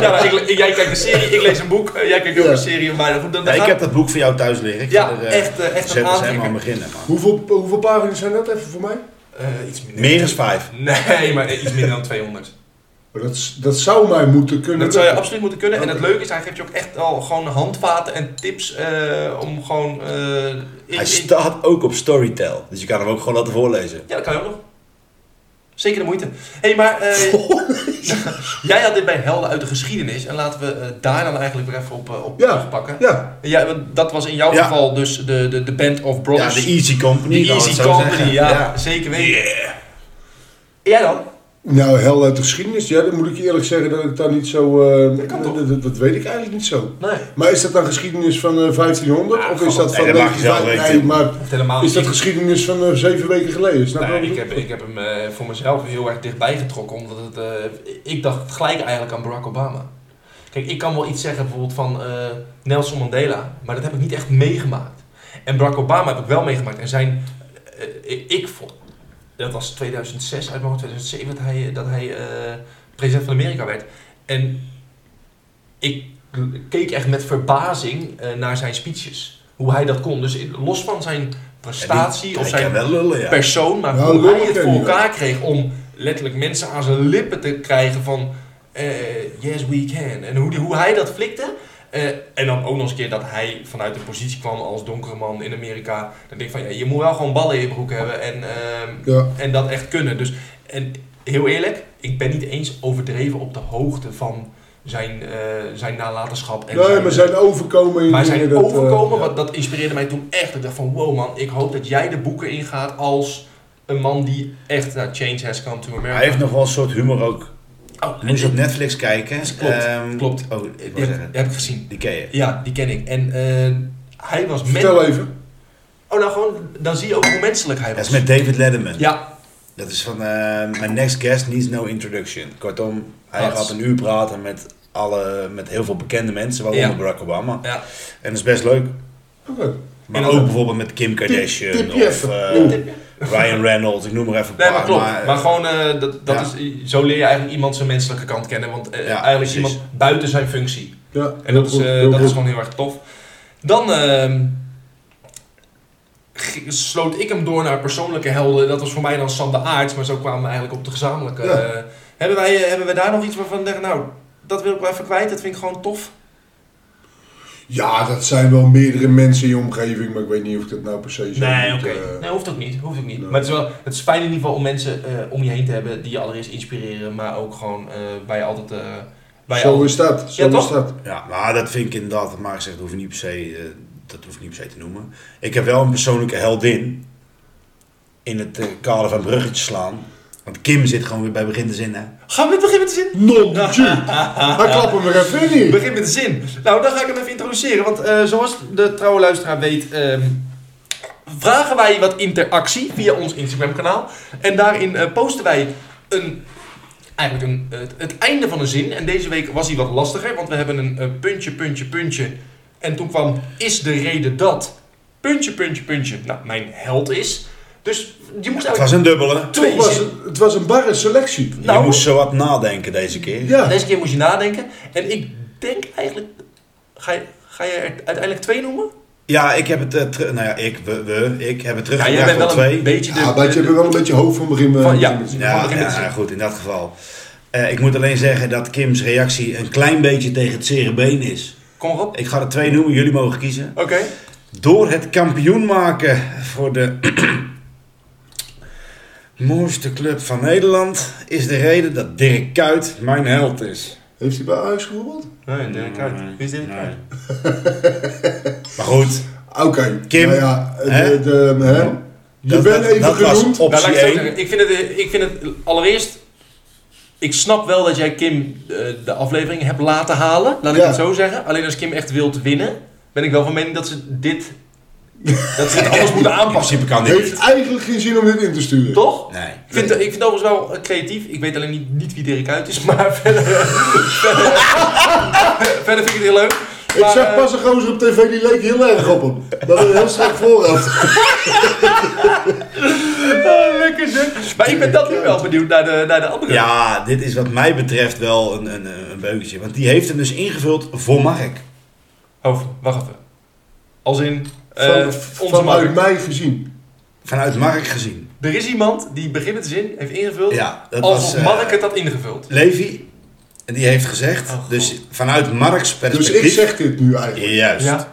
Speaker 3: ja, maar ik, ik- jij kijkt een serie, ik lees een boek, eh, jij kijkt ook
Speaker 2: Ja.
Speaker 3: een serie. Maar goed, dan,
Speaker 4: Ja,
Speaker 3: dan
Speaker 4: ik
Speaker 3: gaat-
Speaker 4: heb dat boek voor jou thuis liggen. Ik
Speaker 3: Ja,
Speaker 4: ga er, eh,
Speaker 3: echt, eh, echt een
Speaker 4: zelf eens helemaal aan
Speaker 3: aanrader.
Speaker 4: beginnen, man.
Speaker 2: Hoeveel, hoeveel pagina's zijn dat even voor mij?
Speaker 3: Eh, iets minder.
Speaker 4: Meer dan vijf.
Speaker 3: Nee, maar iets minder dan 200.
Speaker 2: Maar Dat, is- dat zou mij moeten kunnen.
Speaker 3: Dat zou je absoluut moeten kunnen. En het leuke is, hij geeft je ook echt al gewoon handvaten en tips eh, om gewoon... eh, in-
Speaker 4: Hij
Speaker 3: in-
Speaker 4: staat ook op Storytel. Dus je kan hem ook gewoon laten voorlezen.
Speaker 3: Ja, dat kan je ook nog. Zeker de moeite. hey, maar eh, jij had dit bij Helden uit de geschiedenis. En laten we eh, daar dan eigenlijk weer even op, eh, op
Speaker 2: Ja.
Speaker 3: terugpakken.
Speaker 2: Ja,
Speaker 3: Ja, want dat was in jouw
Speaker 4: Ja.
Speaker 3: geval dus de, de, de Band of
Speaker 4: Ja,
Speaker 3: Brothers.
Speaker 4: de Easy Company.
Speaker 3: De
Speaker 4: laten we het
Speaker 3: Easy
Speaker 4: zo
Speaker 3: Company,
Speaker 4: zeggen.
Speaker 3: ja, Zeker weten. Jij dan?
Speaker 2: nou, hel uit de geschiedenis. Ja, dan moet ik je eerlijk zeggen dat ik daar niet zo... eh,
Speaker 3: Dat kan toch?
Speaker 2: dat, dat- dat weet ik eigenlijk niet zo.
Speaker 3: Nee.
Speaker 2: Maar is dat dan geschiedenis van eh, 1500?
Speaker 3: Ja,
Speaker 2: of is
Speaker 3: gewoon-
Speaker 2: dat van...
Speaker 4: Nee, dat mag je zelf
Speaker 2: 1905?
Speaker 4: weten.
Speaker 2: Nee, maar
Speaker 3: helemaal
Speaker 2: is dat geschiedenis van eh, zeven weken geleden? Snap je
Speaker 3: Ah, Nee,
Speaker 2: wat
Speaker 3: ik
Speaker 2: bedoel?
Speaker 3: heb, ik heb hem eh, voor mezelf heel erg dichtbij getrokken, omdat het, eh, ik dacht gelijk eigenlijk aan Barack Obama. Kijk, ik kan wel iets zeggen bijvoorbeeld van eh, Nelson Mandela, maar dat heb ik niet echt meegemaakt. En Barack Obama heb ik wel meegemaakt. En zijn, eh, ik- ik vond, dat was 2006 uit mijn hoofd, 2007 dat hij, dat hij eh, president van Amerika werd. En ik keek echt met verbazing eh, naar zijn speeches. Hoe hij dat kon. Dus in- los van zijn prestatie
Speaker 4: Ja,
Speaker 3: of
Speaker 4: hij
Speaker 3: zijn
Speaker 4: kan wel lullen, ja.
Speaker 3: persoon, maar
Speaker 2: Nou,
Speaker 3: hoe
Speaker 2: lullen
Speaker 3: hij het
Speaker 2: ken
Speaker 3: voor
Speaker 2: je
Speaker 3: elkaar kreeg om letterlijk mensen aan zijn lippen te krijgen van eh, yes we can. En hoe, die, hoe hij dat flikte. Eh, en dan ook nog eens een keer dat hij vanuit een positie kwam als donkere man in Amerika. Dan denk ik van ja, je moet wel gewoon ballen in je broek hebben en, ehm,
Speaker 2: Ja.
Speaker 3: en dat echt kunnen. Dus en heel eerlijk, ik ben niet eens overdreven op de hoogte van zijn, eh, zijn nalatenschap. En
Speaker 2: Nee, maar zijn overkomen... in
Speaker 3: maar
Speaker 2: dingen
Speaker 3: zijn
Speaker 2: dat, eh,
Speaker 3: overkomen,
Speaker 2: ja.
Speaker 3: wat, dat inspireerde mij toen echt. Ik dacht van, wow man, ik hoop dat jij de boeken ingaat als een man die echt, nou, change has come to America.
Speaker 4: Hij heeft nog wel een soort humor ook.
Speaker 3: Oh,
Speaker 4: Moet je op Netflix kijken.
Speaker 3: Klopt,
Speaker 4: Ehm,
Speaker 3: klopt.
Speaker 4: Oh, ik
Speaker 3: die
Speaker 4: wil
Speaker 3: heb,
Speaker 4: zeggen.
Speaker 3: die heb ik gezien.
Speaker 4: Die ken je.
Speaker 3: Ja, die ken ik. En eh, hij was... men-
Speaker 2: Vertel even.
Speaker 3: Oh, nou gewoon, dan zie je ook hoe menselijk hij
Speaker 4: Dat
Speaker 3: was.
Speaker 4: is met David Letterman.
Speaker 3: Ja,
Speaker 4: Dat is van eh, My Next Guest Needs No Introduction. Kortom, hij
Speaker 3: Dat is-
Speaker 4: gaat een uur praten met, alle, met heel veel bekende mensen, waaronder
Speaker 3: Ja.
Speaker 4: Barack Obama.
Speaker 3: ja.
Speaker 4: En dat is best leuk.
Speaker 2: Oké.
Speaker 4: Maar
Speaker 3: En
Speaker 4: ook
Speaker 3: dan-
Speaker 4: bijvoorbeeld met Kim Kardashian
Speaker 2: Tip- tipje
Speaker 4: of
Speaker 2: even.
Speaker 4: eh,
Speaker 2: Oeh.
Speaker 4: Ryan Reynolds, ik noem maar even een
Speaker 3: Nee,
Speaker 4: paar,
Speaker 3: maar klopt. Maar, gewoon, eh, dat, dat
Speaker 4: Ja.
Speaker 3: is, zo leer je eigenlijk iemand zijn menselijke kant kennen. Want eh,
Speaker 4: Ja,
Speaker 3: eigenlijk is
Speaker 4: precies.
Speaker 3: iemand buiten zijn functie.
Speaker 2: Ja,
Speaker 3: En dat, is,
Speaker 2: goed,
Speaker 3: eh,
Speaker 2: heel
Speaker 3: dat
Speaker 2: goed.
Speaker 3: is gewoon heel erg tof. Dan ehm, g- sloot ik hem door naar persoonlijke helden. Dat was voor mij dan Sander Aarts, maar zo kwamen we eigenlijk op de gezamenlijke.
Speaker 2: Ja.
Speaker 3: eh, hebben, wij, eh, hebben we daar nog iets waarvan we zeggen, nou, dat wil ik wel even kwijt, dat vind ik gewoon tof.
Speaker 2: Ja, dat zijn wel meerdere mensen in je omgeving, maar ik weet niet of ik dat nou per se zo
Speaker 3: Nee,
Speaker 2: moet,
Speaker 3: oké.
Speaker 2: eh,
Speaker 3: Nee, hoeft ook niet. Hoeft ook niet.
Speaker 2: Nee.
Speaker 3: Maar het is, wel, het is fijn in ieder geval om mensen eh, om je heen te hebben die je allereerst inspireren, maar ook gewoon eh waar je altijd. eh waar je
Speaker 2: Zo
Speaker 3: altijd-
Speaker 2: is dat, zo
Speaker 3: Ja,
Speaker 2: is
Speaker 3: toch?
Speaker 2: dat.
Speaker 4: Ja, maar dat vind ik inderdaad, wat Mark zegt, dat hoef je niet per se, eh, dat hoef ik niet per se te noemen. Ik heb wel een persoonlijke heldin in het eh, kader van bruggetjes slaan. Want Kim zit gewoon weer bij begin de zin, hè.
Speaker 3: Gaan we met beginnen te zitten?
Speaker 2: Non Hij klapt hem er even in. hier.
Speaker 3: Begin met de zin. Nou, dan ga ik hem even introduceren. Want eh, zoals de trouwe luisteraar weet, ehm, vragen wij wat interactie via ons Instagram-kanaal. En daarin eh, posten wij een eigenlijk een, het, het einde van een zin. En deze week was hij wat lastiger, want we hebben een eh, puntje, puntje, puntje. En toen kwam is de reden dat puntje, puntje, puntje, nou, mijn held is. Dus je moest
Speaker 4: Het was
Speaker 3: eigenlijk
Speaker 4: een dubbele.
Speaker 3: twee
Speaker 2: Het was,
Speaker 3: zinnen-
Speaker 2: het was een barre selectie.
Speaker 4: Je
Speaker 3: Nou,
Speaker 4: moest zo wat nadenken deze keer.
Speaker 2: Ja.
Speaker 3: deze keer moest je nadenken. En ik denk eigenlijk, ga je, ga je er uiteindelijk twee noemen?
Speaker 4: Ja, ik heb het, eh, teru- nou ja, ik, we, we, ik heb het
Speaker 3: Ja,
Speaker 4: teruggebracht
Speaker 3: jij bent
Speaker 4: op
Speaker 3: wel
Speaker 4: twee.
Speaker 3: een beetje de...
Speaker 2: Ja, Ah, maar je hebt wel een beetje hoofd van begin. eh,
Speaker 3: Van- ja.
Speaker 2: begin.
Speaker 4: Ja,
Speaker 3: Begin met
Speaker 4: ja,
Speaker 3: zin.
Speaker 4: goed, in dat geval. Eh, ik moet alleen zeggen dat Kim's reactie een klein beetje tegen het zere been is.
Speaker 3: Kom erop.
Speaker 4: Ik ga er twee noemen, jullie mogen kiezen.
Speaker 3: Oké.
Speaker 4: Door het kampioen maken voor de mooiste club van Nederland is de reden dat Dirk Kuyt mijn held is.
Speaker 2: Heeft hij bij Ajax gevoetbald?
Speaker 3: Nee, Nou, Dirk Kuyt. Wie is Dirk Kuyt?
Speaker 4: Maar goed,
Speaker 2: Oké.
Speaker 4: Kim,
Speaker 2: Nou ja, de-
Speaker 4: hè?
Speaker 2: de- hè? Je
Speaker 4: dat,
Speaker 2: bent
Speaker 4: dat-
Speaker 2: even
Speaker 4: dat
Speaker 2: genoemd.
Speaker 3: Nou,
Speaker 4: was
Speaker 3: laat
Speaker 4: optie
Speaker 3: ik, het zo
Speaker 4: 1.
Speaker 3: zeggen. ik, vind het, eh, ik vind het allereerst. Ik snap wel dat jij Kim eh, de aflevering hebt laten halen. Laat ik
Speaker 2: Ja.
Speaker 3: het zo zeggen. Alleen als Kim echt wilt winnen, ben ik wel van mening dat ze dit. dat ze het anders moeten
Speaker 4: In
Speaker 3: aanpassen.
Speaker 4: principe kan dit
Speaker 2: Heeft
Speaker 4: niet.
Speaker 2: eigenlijk geen zin om dit in te sturen.
Speaker 3: Toch?
Speaker 4: Nee.
Speaker 3: Ik vind, ik vind het overigens wel eh, creatief. Ik weet alleen niet, niet wie Dirk uit is, maar verder. eh, verder, verder vind ik het heel leuk.
Speaker 2: Ik
Speaker 3: Maar,
Speaker 2: zag
Speaker 3: eh,
Speaker 2: pas een gozer op tv die leek heel erg op hem. Dat was een heel strak voorraad.
Speaker 3: eh, lekker zeg. Maar ik ben dat nu wel benieuwd naar de, naar de andere.
Speaker 4: Ja, dit is wat mij betreft wel een, een, een beukentje. Want die heeft hem dus ingevuld voor Mark.
Speaker 3: Oh, wacht even. Als in. eh,
Speaker 2: Van,
Speaker 3: onze
Speaker 2: vanuit
Speaker 3: markt.
Speaker 2: mij gezien.
Speaker 4: Vanuit Mark gezien.
Speaker 3: Er is iemand die beginnend zin heeft ingevuld.
Speaker 4: Ja, dat
Speaker 3: alsof
Speaker 4: was eh,
Speaker 3: Mark het had ingevuld.
Speaker 4: Levi. En die heeft gezegd,
Speaker 3: Oh, God.
Speaker 4: dus vanuit Marks
Speaker 2: Dus
Speaker 4: perspectief.
Speaker 2: ik zeg dit nu eigenlijk.
Speaker 4: Juist.
Speaker 3: Ja.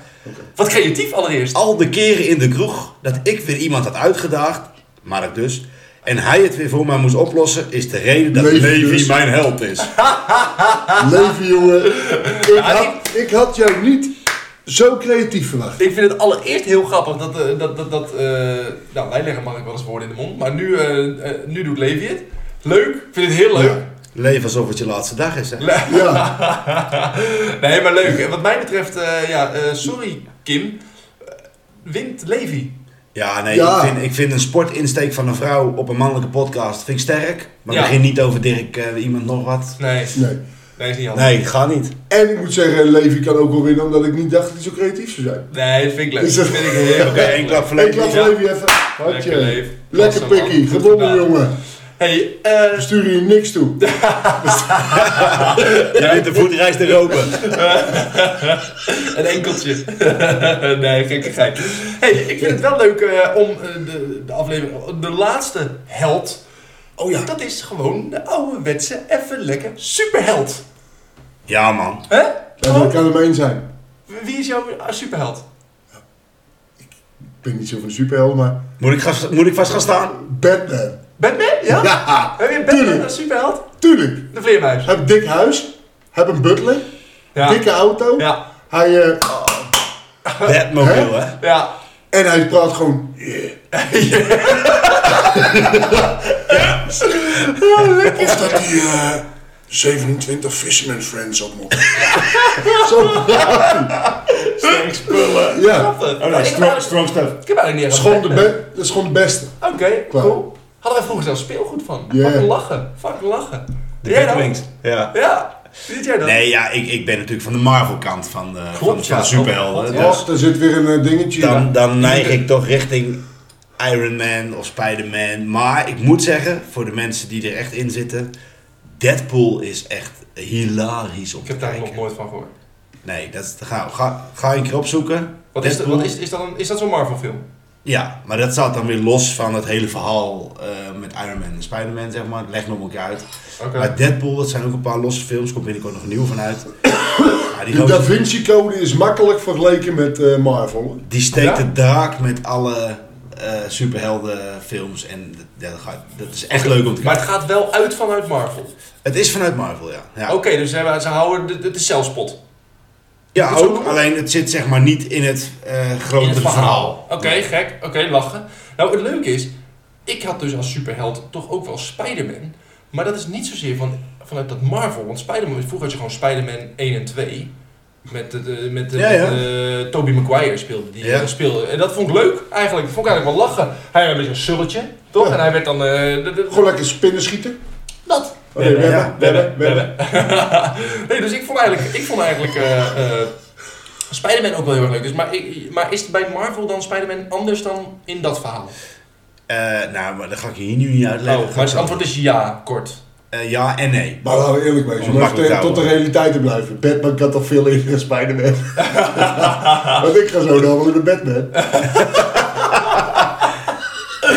Speaker 3: Wat creatief allereerst.
Speaker 4: Al de keren in de kroeg dat ik weer iemand had uitgedaagd, Mark dus, en hij het weer voor mij moest oplossen, is de reden dat
Speaker 2: Levi
Speaker 4: Levi,
Speaker 2: dus.
Speaker 4: mijn held is.
Speaker 2: Leven jongen. Ik
Speaker 3: Ja,
Speaker 2: had, ik had jou niet zo creatief verwacht.
Speaker 3: Ik vind het allereerst heel grappig dat. eh, dat, dat, dat eh, nou, wij leggen Mark wel eens woorden in de mond. Maar nu, eh, eh, nu doet Levi het. Leuk. Ik vind het heel leuk.
Speaker 2: Ja.
Speaker 4: Leef alsof het je laatste dag is. Hè?
Speaker 2: Ja,
Speaker 3: Nee, maar leuk. En Wat mij betreft, eh, ja, eh, sorry Kim. Eh, wint Levi.
Speaker 4: Ja, nee,
Speaker 2: Ja.
Speaker 4: Ik, vind, ik vind een sportinsteek van een vrouw op een mannelijke podcast vind ik sterk. Maar
Speaker 3: Ja.
Speaker 4: begin niet over Dirk, eh, iemand nog wat.
Speaker 3: Nee,
Speaker 2: nee.
Speaker 3: nee is niet handig.
Speaker 4: Nee, ga niet.
Speaker 2: En ik moet zeggen, Levi kan ook wel winnen omdat ik niet dacht dat hij zo creatief zou zijn.
Speaker 3: Nee, dat vind ik leuk.
Speaker 2: Is
Speaker 3: Dat
Speaker 2: dat-
Speaker 3: vind ik heel
Speaker 4: Oké, één klap voor
Speaker 2: Ik
Speaker 4: Levi.
Speaker 2: laat
Speaker 3: Ja.
Speaker 2: Levi even.
Speaker 3: Lekker,
Speaker 2: Hartje.
Speaker 3: Levi. Klasse,
Speaker 2: Lekker
Speaker 3: man.
Speaker 2: pikkie.
Speaker 3: Goed
Speaker 2: Gewonnen
Speaker 3: gedaan.
Speaker 2: jongen.
Speaker 3: Hey, eh,
Speaker 2: We sturen je niks toe.
Speaker 4: Je bent de voetreis te roken.
Speaker 3: Een enkeltje. nee, gekkigheid. hey, ik vind het wel leuk eh, om eh, de, de aflevering... De laatste held... Oh ja. Dat is gewoon de ouderwetse, even lekker superheld.
Speaker 4: Ja, man.
Speaker 3: Hè?
Speaker 2: En dat kan er maar één zijn.
Speaker 3: Wie is jouw eh, superheld?
Speaker 2: Ik ben niet zo van superheld, maar
Speaker 4: Moet ik, gaan- moet ik vast gaan staan?
Speaker 2: Batman.
Speaker 3: Batman? Ja?
Speaker 2: Ja,
Speaker 3: Heb je een Batman
Speaker 2: tuurlijk.
Speaker 3: als superheld?
Speaker 2: tuurlijk.
Speaker 3: De vleermuis.
Speaker 2: Heb een dik huis, heb een butler,
Speaker 3: Ja.
Speaker 2: dikke auto.
Speaker 3: Ja.
Speaker 2: Hij, eh,
Speaker 4: Batmobile, hè?
Speaker 3: Ja.
Speaker 2: en hij praat gewoon. "Yeah." Of dat hij eh, 27 Fisherman Friends op moet. Zo
Speaker 3: Sterk spullen.
Speaker 2: Ja.
Speaker 3: Oh, nee, strong,
Speaker 4: stuff.
Speaker 3: Ik heb eigenlijk niet echt een
Speaker 2: Dat is gewoon de,
Speaker 3: Batman.
Speaker 2: be- dat is gewoon de beste.
Speaker 3: Oké,
Speaker 2: Qua-
Speaker 3: cool. Hadden wij vroeger zelfs speelgoed van.
Speaker 2: Ja.
Speaker 3: Fucking lachen. Fucking lachen.
Speaker 4: De
Speaker 3: Jij dan?
Speaker 4: Batwings. Ja.
Speaker 3: Ja. Wie Zit jij dan?
Speaker 4: Nee, ja, ik, ik ben natuurlijk van de Marvel-kant van de, van,
Speaker 3: Klopt,
Speaker 4: van de
Speaker 3: ja.
Speaker 4: superhelden.
Speaker 3: Ja.
Speaker 4: Dus
Speaker 2: Och, daar zit weer een eh, dingetje
Speaker 4: dan,
Speaker 2: in.
Speaker 4: dan neig ik toch richting Iron Man of Spider-Man. Maar ik moet zeggen, voor de mensen die er echt in zitten, Deadpool is echt hilarisch om
Speaker 3: Ik
Speaker 4: te
Speaker 3: heb daar nog
Speaker 4: kijken.
Speaker 3: nooit van gehoord.
Speaker 4: Nee, dat is, ga, ga, ga een keer opzoeken.
Speaker 3: Wat is, dat,
Speaker 4: Deadpool.
Speaker 3: wat is, is dat, een, is dat zo'n Marvel film?
Speaker 4: Ja, maar dat staat dan weer los van het hele verhaal eh, met Iron Man en Spider-Man, zeg maar. Leg nog een keer uit.
Speaker 3: Oké.
Speaker 4: Maar Deadpool, dat zijn ook een paar losse films. Komt binnenkort nog een nieuw van uit. Ja, die
Speaker 2: De
Speaker 4: gozer-
Speaker 2: Da Vinci Code is makkelijk vergeleken met eh, Marvel.
Speaker 4: Die steekt
Speaker 3: Ja?
Speaker 4: de draak met alle eh, superheldenfilms. En dat- ja, dat, gaat- dat is echt leuk om te
Speaker 3: Maar
Speaker 4: kijken.
Speaker 3: het gaat wel uit vanuit Marvel.
Speaker 4: Het is vanuit Marvel, ja. Ja,
Speaker 3: Oké, dus ze, hebben- ze houden de, de, de celspot.
Speaker 4: ja
Speaker 3: het is ook
Speaker 4: ook.
Speaker 3: nog-
Speaker 4: Alleen het zit zeg maar niet in het eh grote
Speaker 3: In het
Speaker 4: verhaal.
Speaker 3: verhaal. Oké, gek. Oké, lachen. Nou, het leuke is, ik had dus als superheld toch ook wel Spider-Man. Maar dat is niet zozeer van, vanuit dat Marvel. Want Spider-Man, vroeger had je gewoon Spider-Man 1 en 2. Met, de- de- met, de-
Speaker 4: Ja, ja.
Speaker 3: met eh, Tobey Maguire speelde die. eh,
Speaker 4: Ja.
Speaker 3: Speelde. En dat vond ik leuk eigenlijk. Vond ik eigenlijk wel lachen. Hij had een beetje een sulletje, toch?
Speaker 2: Ja.
Speaker 3: En hij werd dan... eh, de- de-
Speaker 2: Gewoon lekker spinnen schieten.
Speaker 3: Dat.
Speaker 2: Oh, nee,
Speaker 4: Webben,
Speaker 2: Webben, Webben, Webben.
Speaker 3: nee, dus ik vond eigenlijk, ik vond eigenlijk eh, eh, Spider-Man ook wel heel erg leuk. Dus, maar, ik- maar is het bij Marvel dan Spider-Man anders dan in dat verhaal?
Speaker 4: Eh, nou, maar dat ga ik je hier nu niet uitleggen.
Speaker 3: Oh, maar het antwoord is ja, kort.
Speaker 4: Eh, ja en nee.
Speaker 2: Maar laten we eerlijk zijn,
Speaker 4: Om
Speaker 2: om even
Speaker 4: makkelijk
Speaker 2: te-
Speaker 4: te
Speaker 2: tot de
Speaker 4: houden.
Speaker 2: realiteit te blijven. Batman kan toch veel eerder dan Spider-Man. Want ik ga zo dan door de Batman.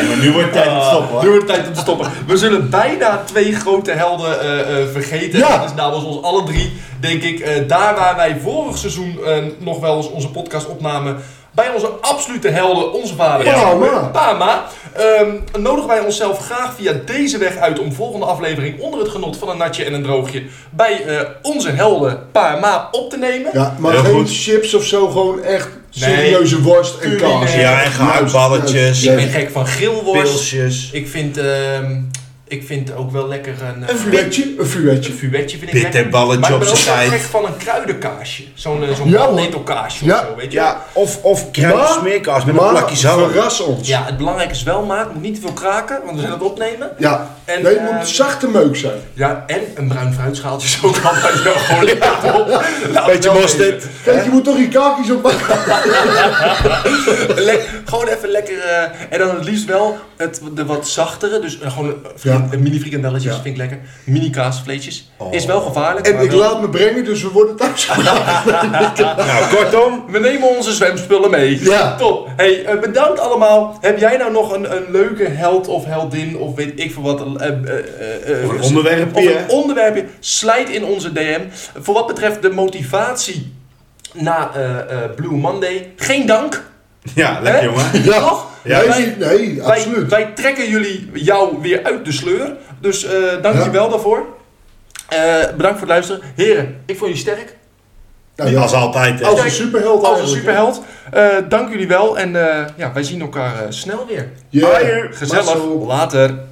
Speaker 4: maar nu wordt het tijd om te stoppen.
Speaker 3: Oh, Nu wordt het tijd om te stoppen. We zullen bijna twee grote helden eh, eh, vergeten.
Speaker 2: Ja.
Speaker 3: Dat is namens ons alle drie, denk ik. eh, daar waar wij vorig seizoen eh, nog wel eens onze podcast opnamen. Bij onze absolute helden, onze vader.
Speaker 2: Ja,
Speaker 3: Pama.
Speaker 2: maar.
Speaker 3: Ehm, nodigen wij onszelf graag via deze weg uit om volgende aflevering onder het genot van een natje en een droogje bij eh, onze helden Pama op te nemen.
Speaker 2: Ja, maar
Speaker 4: Heel
Speaker 2: geen
Speaker 4: goed.
Speaker 2: chips of zo, gewoon echt
Speaker 3: Nee.
Speaker 2: serieuze worst en
Speaker 3: Culinair.
Speaker 2: kaas.
Speaker 4: Ja, en gehaktballetjes.
Speaker 2: Juist,
Speaker 4: Ik
Speaker 3: Ik
Speaker 2: juist,
Speaker 3: ben
Speaker 2: juist.
Speaker 3: gek van grillworst.
Speaker 4: Pilsjes.
Speaker 3: Ik vind, ehm, ik vind ook wel lekker een... eh,
Speaker 2: Een vuurtje, een vuurtje.
Speaker 3: Een vuurtje vind ik
Speaker 4: Pittig
Speaker 3: lekker.
Speaker 4: balletje
Speaker 3: maar ik
Speaker 4: op
Speaker 3: ben ook
Speaker 4: zijn
Speaker 3: wel
Speaker 4: tijd.
Speaker 3: gek van een kruidenkaasje. Zo'n eh, zo'n
Speaker 2: Ja, hoor.
Speaker 3: planetelkaasje
Speaker 2: Ja.
Speaker 3: of zo, weet je
Speaker 4: Ja, of, of kruid
Speaker 2: Maar-
Speaker 4: smeerkaas met een
Speaker 2: Maar
Speaker 4: plakje zout.
Speaker 2: verras ons. Ja,
Speaker 3: Ja, het belangrijke is wel maat, moet niet te veel kraken, want we zijn aan het opnemen. En,
Speaker 2: nee, het
Speaker 3: eh,
Speaker 2: moet zachte meuk zijn.
Speaker 3: Ja, en een bruin fruitschaaltje is ook altijd wel gewoon lekker op. Laat
Speaker 2: Nou,
Speaker 4: Beetje
Speaker 3: wel
Speaker 4: mosterd.
Speaker 3: wezen.
Speaker 2: Kijk, je moet toch je kakies op
Speaker 3: Lek- gewoon even lekker, eh, en dan het liefst wel het, de wat zachtere, dus eh, gewoon een, frikan-
Speaker 2: Ja.
Speaker 3: een mini frikandelletjes
Speaker 2: Ja.
Speaker 3: vind ik lekker. Mini kaasvleesjes.
Speaker 4: Oh.
Speaker 3: Is wel gevaarlijk.
Speaker 2: En
Speaker 3: maar
Speaker 2: ik
Speaker 3: wel-
Speaker 2: laat me brengen, dus we worden thuis
Speaker 4: Nou, kortom.
Speaker 3: We nemen onze zwemspullen mee.
Speaker 2: Ja.
Speaker 3: Top. Hey, eh, bedankt allemaal. Heb jij nou nog een, een leuke held of heldin of weet ik veel wat? eh, eh, eh, eh,
Speaker 4: Of een onderwerpje,
Speaker 3: Of een
Speaker 4: hè?
Speaker 3: onderwerpje. Slijt in onze DM. Voor wat betreft de motivatie na eh, eh, Blue Monday. Geen dank.
Speaker 4: Ja, lekker
Speaker 3: Hè?
Speaker 4: jongen.
Speaker 2: Ja.
Speaker 3: Toch?
Speaker 4: Ja.
Speaker 2: Nee, nee,
Speaker 3: Wij,
Speaker 2: absoluut.
Speaker 3: wij trekken jullie jou weer uit de sleur. Dus eh dank je
Speaker 2: Ja.
Speaker 3: wel daarvoor. Eh, bedankt voor het luisteren. Heren, ik vond je sterk.
Speaker 2: Nou ja,
Speaker 4: Als altijd. hè.
Speaker 2: als een superheld
Speaker 3: Als een
Speaker 2: eigenlijk,
Speaker 3: superheld. Eh, dank jullie wel. En eh, ja, wij zien elkaar eh, snel weer.
Speaker 2: hè. Yeah.
Speaker 4: Aier,
Speaker 3: Gezellig.
Speaker 2: Marcel.
Speaker 3: Later.